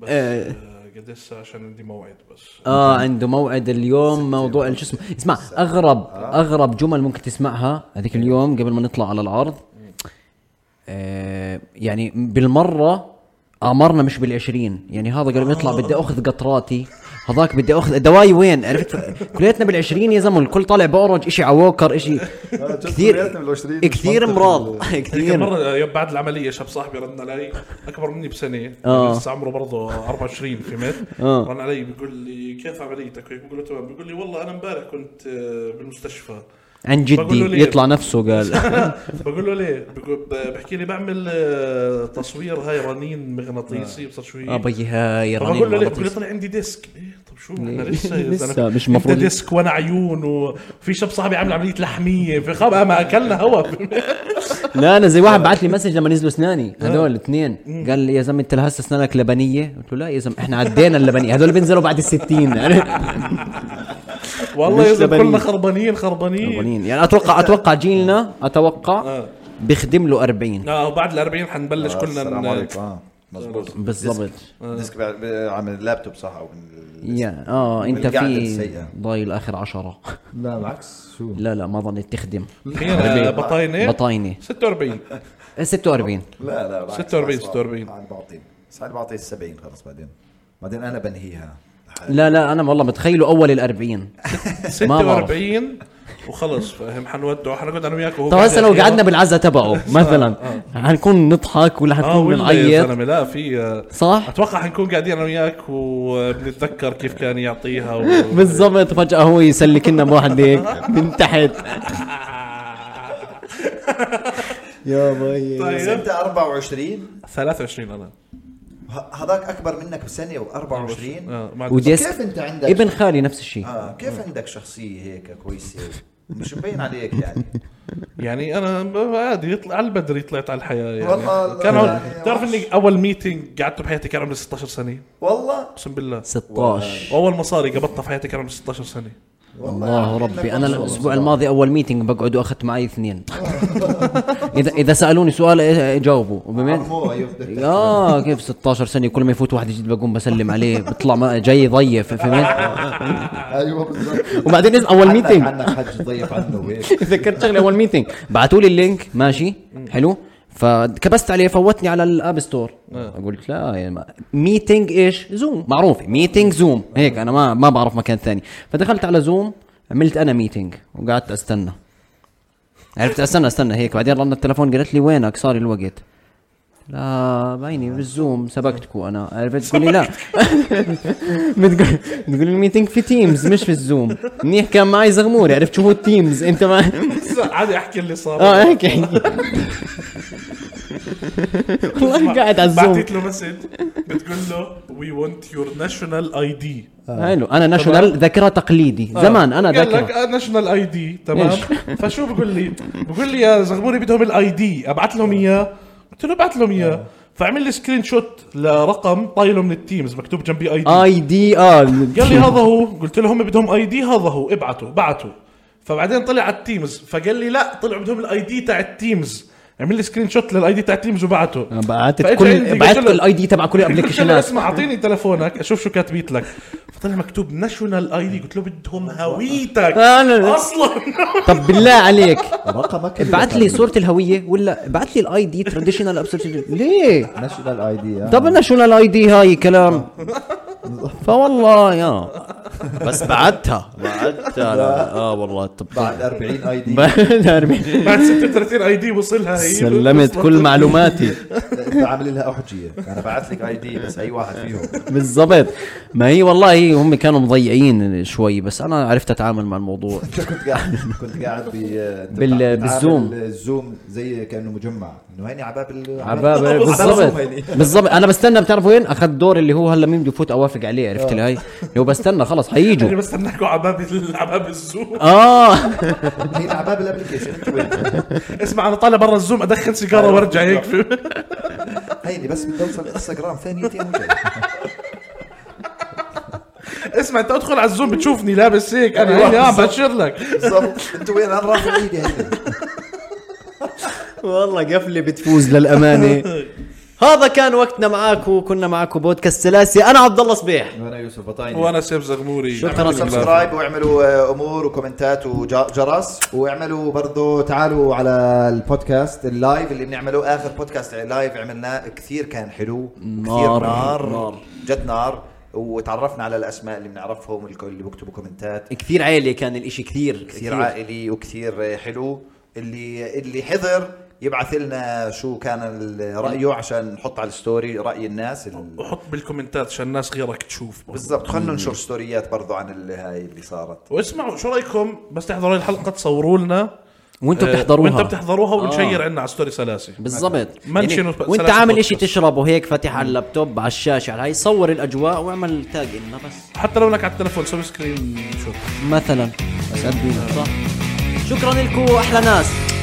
Speaker 1: إيه.
Speaker 3: بس آه، قد ايش ساعة عشان عندي موعد بس
Speaker 1: اه عنده موعد اليوم موضوع شو اسمه اسمع اغرب اغرب جمل ممكن تسمعها
Speaker 7: إيه.
Speaker 1: هذيك اليوم قبل ما نطلع على العرض آه يعني
Speaker 7: آه.
Speaker 1: بالمره عمرنا مش بالعشرين يعني هذا قبل ما يطلع بدي اخذ قطراتي هذاك بدي اخذ دواي وين عرفت كليتنا بالعشرين يا زلمه الكل طالع بأورج اشي عووكر اشي
Speaker 7: آه، كلياتنا بالعشرين، مش
Speaker 1: كثير كثير
Speaker 7: منطقي.
Speaker 1: امراض
Speaker 3: هيك
Speaker 1: كثير
Speaker 3: مرة يوم بعد العملية شاب صاحبي رن علي أكبر مني بسنة
Speaker 1: آه.
Speaker 3: لسه عمره برضه 24 فهمت؟
Speaker 1: آه.
Speaker 3: رن علي بيقول لي كيف عمليتك؟ هيك بقول له تمام بيقول لي والله أنا امبارح كنت آه، بالمستشفى
Speaker 1: عن
Speaker 3: بقول له
Speaker 1: جدي
Speaker 3: ليه؟
Speaker 1: يطلع نفسه قال
Speaker 3: بقول له ليه؟ بقول- ب- بحكي لي بعمل آه، تصوير هاي رنين
Speaker 1: آه.
Speaker 3: مغناطيسي بصير شو هي.
Speaker 1: ابي هاي
Speaker 3: فبقول له ليه؟ بقول لي
Speaker 1: رنين
Speaker 3: طلع عندي ديسك إيه طب شو احنا
Speaker 1: ليه؟
Speaker 3: لسه
Speaker 1: لسه مش
Speaker 3: أنت
Speaker 1: مفروض-
Speaker 3: ديسك وانا عيون وفي شاب صاحبي عامل عمليه لحميه في خب ما اكلنا هوا
Speaker 1: لا انا زي واحد بعت لي مسج لما نزلوا اسناني هذول الاثنين قال لي يا زلمه انت لهسه اسنانك لبنيه قلت له لا يا زلمه احنا عدينا اللبنيه هذول بينزلوا بعد الستين يعني
Speaker 3: والله يا
Speaker 1: مش
Speaker 3: زلمة
Speaker 1: لبنية.
Speaker 3: كلنا خربانين خربانين
Speaker 1: خربانين. يعني اتوقع اتوقع جيلنا اتوقع
Speaker 3: آه.
Speaker 1: بيخدم له 40
Speaker 3: اه بعد ال 40 حنبلش كلنا
Speaker 7: السلام
Speaker 3: ن- آه.
Speaker 7: عليكم آه، مزبوط
Speaker 1: بالضبط
Speaker 7: ديسك عم اللابتوب صح او من-
Speaker 1: يا اه انت
Speaker 7: القعدة
Speaker 1: في
Speaker 7: السيئة.
Speaker 1: ضايل اخر عشرة
Speaker 2: لا بالعكس شو
Speaker 1: لا لا ما ظنيت تخدم
Speaker 3: هنا بطاينه
Speaker 1: بطاينه
Speaker 3: 46
Speaker 1: آه، 46
Speaker 7: لا لا بالعكس،
Speaker 3: 46
Speaker 7: ساعات
Speaker 3: 46.
Speaker 7: بعطيه- ساعات بعطيه ساعات بعطيه 70 خلص بعدين بعدين انا بنهيها
Speaker 1: لا لا انا والله متخيله اول ال 40 ما بعرف.
Speaker 3: 46 وخلص فاهم حنودعه حنقعد انا وياك وهو
Speaker 1: طب هسه لو
Speaker 3: بالأخير.
Speaker 1: قعدنا بالعزة تبعه مثلا حنكون نضحك ولا
Speaker 3: اه
Speaker 1: حنكون
Speaker 3: آه. ولا يا
Speaker 1: بنعيط
Speaker 3: زلمه لا في آه،
Speaker 1: صح؟
Speaker 3: اتوقع حنكون قاعدين انا وياك وبنتذكر كيف كان يعطيها و...
Speaker 1: بالضبط فجأة هو يسلك لنا بواحد هيك من تحت
Speaker 2: يا باي
Speaker 7: بس
Speaker 3: طيب
Speaker 7: انت 24
Speaker 3: 23 انا
Speaker 7: ه- هذاك اكبر منك بسنه و24
Speaker 3: آه، ما عندي-
Speaker 1: وديسك
Speaker 7: كيف انت عندك
Speaker 1: ابن خالي نفس الشيء
Speaker 7: اه كيف عندك شخصيه هيك كويسه مش مبين عليك يعني
Speaker 3: يعني انا ب- عادي طلع على البدري طلعت على الحياه يعني
Speaker 7: والله
Speaker 3: كان عمري-
Speaker 7: يعني
Speaker 3: بتعرف
Speaker 7: وحش.
Speaker 3: اني اول ميتنج قعدته بحياتي كان عمري 16 سنه
Speaker 7: والله
Speaker 3: اقسم بالله
Speaker 1: 16
Speaker 3: واول مصاري قبضتها في حياتي كان عمري 16 سنه
Speaker 1: الله ربي انا الاسبوع الماضي اول ميتنج بقعد واخذت معي اثنين اذا اذا سالوني سؤال إيه- جاوبوا وبما-
Speaker 7: مو ايوه
Speaker 1: اه كيف 16 سنه كل ما يفوت واحد جديد بقوم بسلم عليه بطلع ما جاي ضيف فهمت
Speaker 2: أيوة،
Speaker 7: ايوه بالضبط
Speaker 1: وبعدين إذا اول
Speaker 7: عنك
Speaker 1: ميتنج
Speaker 7: عنك حج ضيف عنه وهيك
Speaker 1: تذكرت شغله اول ميتنج بعثوا لي اللينك ماشي حلو فكبست عليه فوتني على الاب ستور قلت لا يعني ما- ميتنج ايش زوم معروف ميتنج زوم هيك انا ما ما بعرف مكان ثاني فدخلت على زوم عملت انا ميتنج وقعدت استنى عرفت استنى استنى هيك بعدين رن التلفون قالت لي وينك صار الوقت لا بايني بالزوم سبقتكم انا عرفت تقول لي لا بتقول بتقول الميتنج في تيمز مش في الزوم منيح كان معي زغموري عرفت شو هو التيمز انت ما
Speaker 3: عادي احكي اللي صار
Speaker 1: اه احكي احكي والله قاعد على الزوم
Speaker 3: بعثت له مسج بتقول له وي ونت يور ناشونال اي دي
Speaker 1: حلو انا ناشونال ذاكره تقليدي زمان انا
Speaker 3: آه. قال لك
Speaker 1: ذاكره
Speaker 3: آه، ناشونال اي دي تمام
Speaker 1: إيش؟
Speaker 3: فشو بقول لي بقول لي يا زغبوني بدهم الاي دي ابعث لهم اياه قلت له ابعث لهم اياه فعمل لي سكرين شوت لرقم طايله من التيمز مكتوب جنبي اي دي
Speaker 1: اي آه، دي ار
Speaker 3: قال لي هذا هو قلت له هم بدهم اي دي هذا هو ابعتوا بعتوا فبعدين طلع على التيمز فقال لي لا طلعوا بدهم الاي دي تاع التيمز عمل لي سكرين شوت للاي دي تاع التيمز وبعته
Speaker 1: بعتت
Speaker 3: فإجا عندي
Speaker 1: كل
Speaker 3: قلت
Speaker 1: بعت
Speaker 3: له-
Speaker 1: كل الاي دي تبع كل
Speaker 3: قلت له
Speaker 1: الابلكيشنات
Speaker 3: اسمع اعطيني تلفونك اشوف شو كاتبيت لك فطلع مكتوب ناشونال اي دي قلت له بدهم هويتك
Speaker 1: آه، لا، لا.
Speaker 3: اصلا
Speaker 1: طب بالله عليك
Speaker 2: رقمك
Speaker 1: ابعت لي صوره الهويه ولا ابعت لي الاي دي تراديشنال ابسولوت ليه
Speaker 2: ناشونال اي دي
Speaker 1: طب انا شو الاي دي هاي كلام فوالله يا بس بعتها بعتها لا. اه والله طب
Speaker 2: بعد 40 اي دي
Speaker 1: بعد
Speaker 3: بعد 36 اي دي وصلها هي
Speaker 1: سلمت كل معلوماتي
Speaker 2: انت عامل لها احجيه
Speaker 7: انا بعث لك اي دي بس اي واحد فيهم
Speaker 1: بالضبط ما هي والله هم كانوا مضيعين شوي بس انا عرفت اتعامل مع الموضوع
Speaker 2: انت كنت قاعد كنت قاعد ب آه،
Speaker 1: بال-
Speaker 2: بتعامل
Speaker 1: بالزوم.
Speaker 2: الزوم زي كانه مجمع انه هيني عباب ال-
Speaker 1: عباب
Speaker 2: الزوم
Speaker 1: بالضبط
Speaker 2: هيني.
Speaker 1: بالضبط انا بستنى بتعرف وين اخذ دور اللي هو هلا مين بده يفوت اوافق عليه عرفت لي هاي لو بستنى خلص حييجوا
Speaker 3: يعني بس انكوا عباب ال- عباب الزوم
Speaker 1: اه
Speaker 2: هي عباب الابلكيشن انتبه.
Speaker 3: اسمع انا طالع برا الزوم ادخن سيجاره
Speaker 1: أيوة.
Speaker 3: وارجع هيك
Speaker 2: هيني بس بدي اوصل انستغرام ثانيتين وجاي.
Speaker 3: اسمع انت ادخل على الزوم بتشوفني لابس هيك انا هيني اه
Speaker 1: أيوة.
Speaker 3: بشر لك
Speaker 2: بالضبط انت وين انا رافع ايدي هيني
Speaker 1: والله قفله بتفوز للامانه هذا كان وقتنا معاكم كنا معاكم بودكاست سلاسي انا عبد الله صبيح
Speaker 7: وانا يوسف بطايني
Speaker 3: وانا سيف زغموري
Speaker 1: شو ترى سبسكرايب؟
Speaker 2: سبسكرايب واعملوا آه، امور وكومنتات وجرس واعملوا برضو تعالوا على البودكاست اللايف اللي بنعمله اخر بودكاست لايف عملناه كثير كان حلو كثير
Speaker 1: نار.
Speaker 2: نار,
Speaker 1: نار.
Speaker 2: جد نار وتعرفنا على الاسماء اللي بنعرفهم الكل اللي بيكتبوا كومنتات
Speaker 9: كثير عائلي كان الاشي كثير
Speaker 2: كثير عائلي وكثير حلو اللي اللي حضر يبعث لنا شو كان ال- رايه عشان نحط على الستوري راي الناس ال-
Speaker 3: وحط بالكومنتات عشان الناس غيرك تشوف
Speaker 2: بالضبط خلينا ننشر ستوريات برضو عن ال- هاي اللي صارت
Speaker 3: واسمعوا شو رايكم بس تحضروا هاي الحلقه تصوروا لنا
Speaker 1: وانتوا
Speaker 3: آه،
Speaker 1: بتحضروها
Speaker 3: وانتوا بتحضروها ونشير عنا على ستوري سلاسي
Speaker 1: بالضبط يعني
Speaker 3: منشن وسب-
Speaker 1: وانت
Speaker 3: سلاسل
Speaker 1: عامل
Speaker 3: بودكاست.
Speaker 1: اشي تشربه هيك فاتح على اللابتوب على الشاشه على هاي صور الاجواء واعمل تاج لنا بس
Speaker 3: حتى لو انك على التلفون سوي سكرين شوت
Speaker 1: مثلا بس قد صح شكرا لكم احلى ناس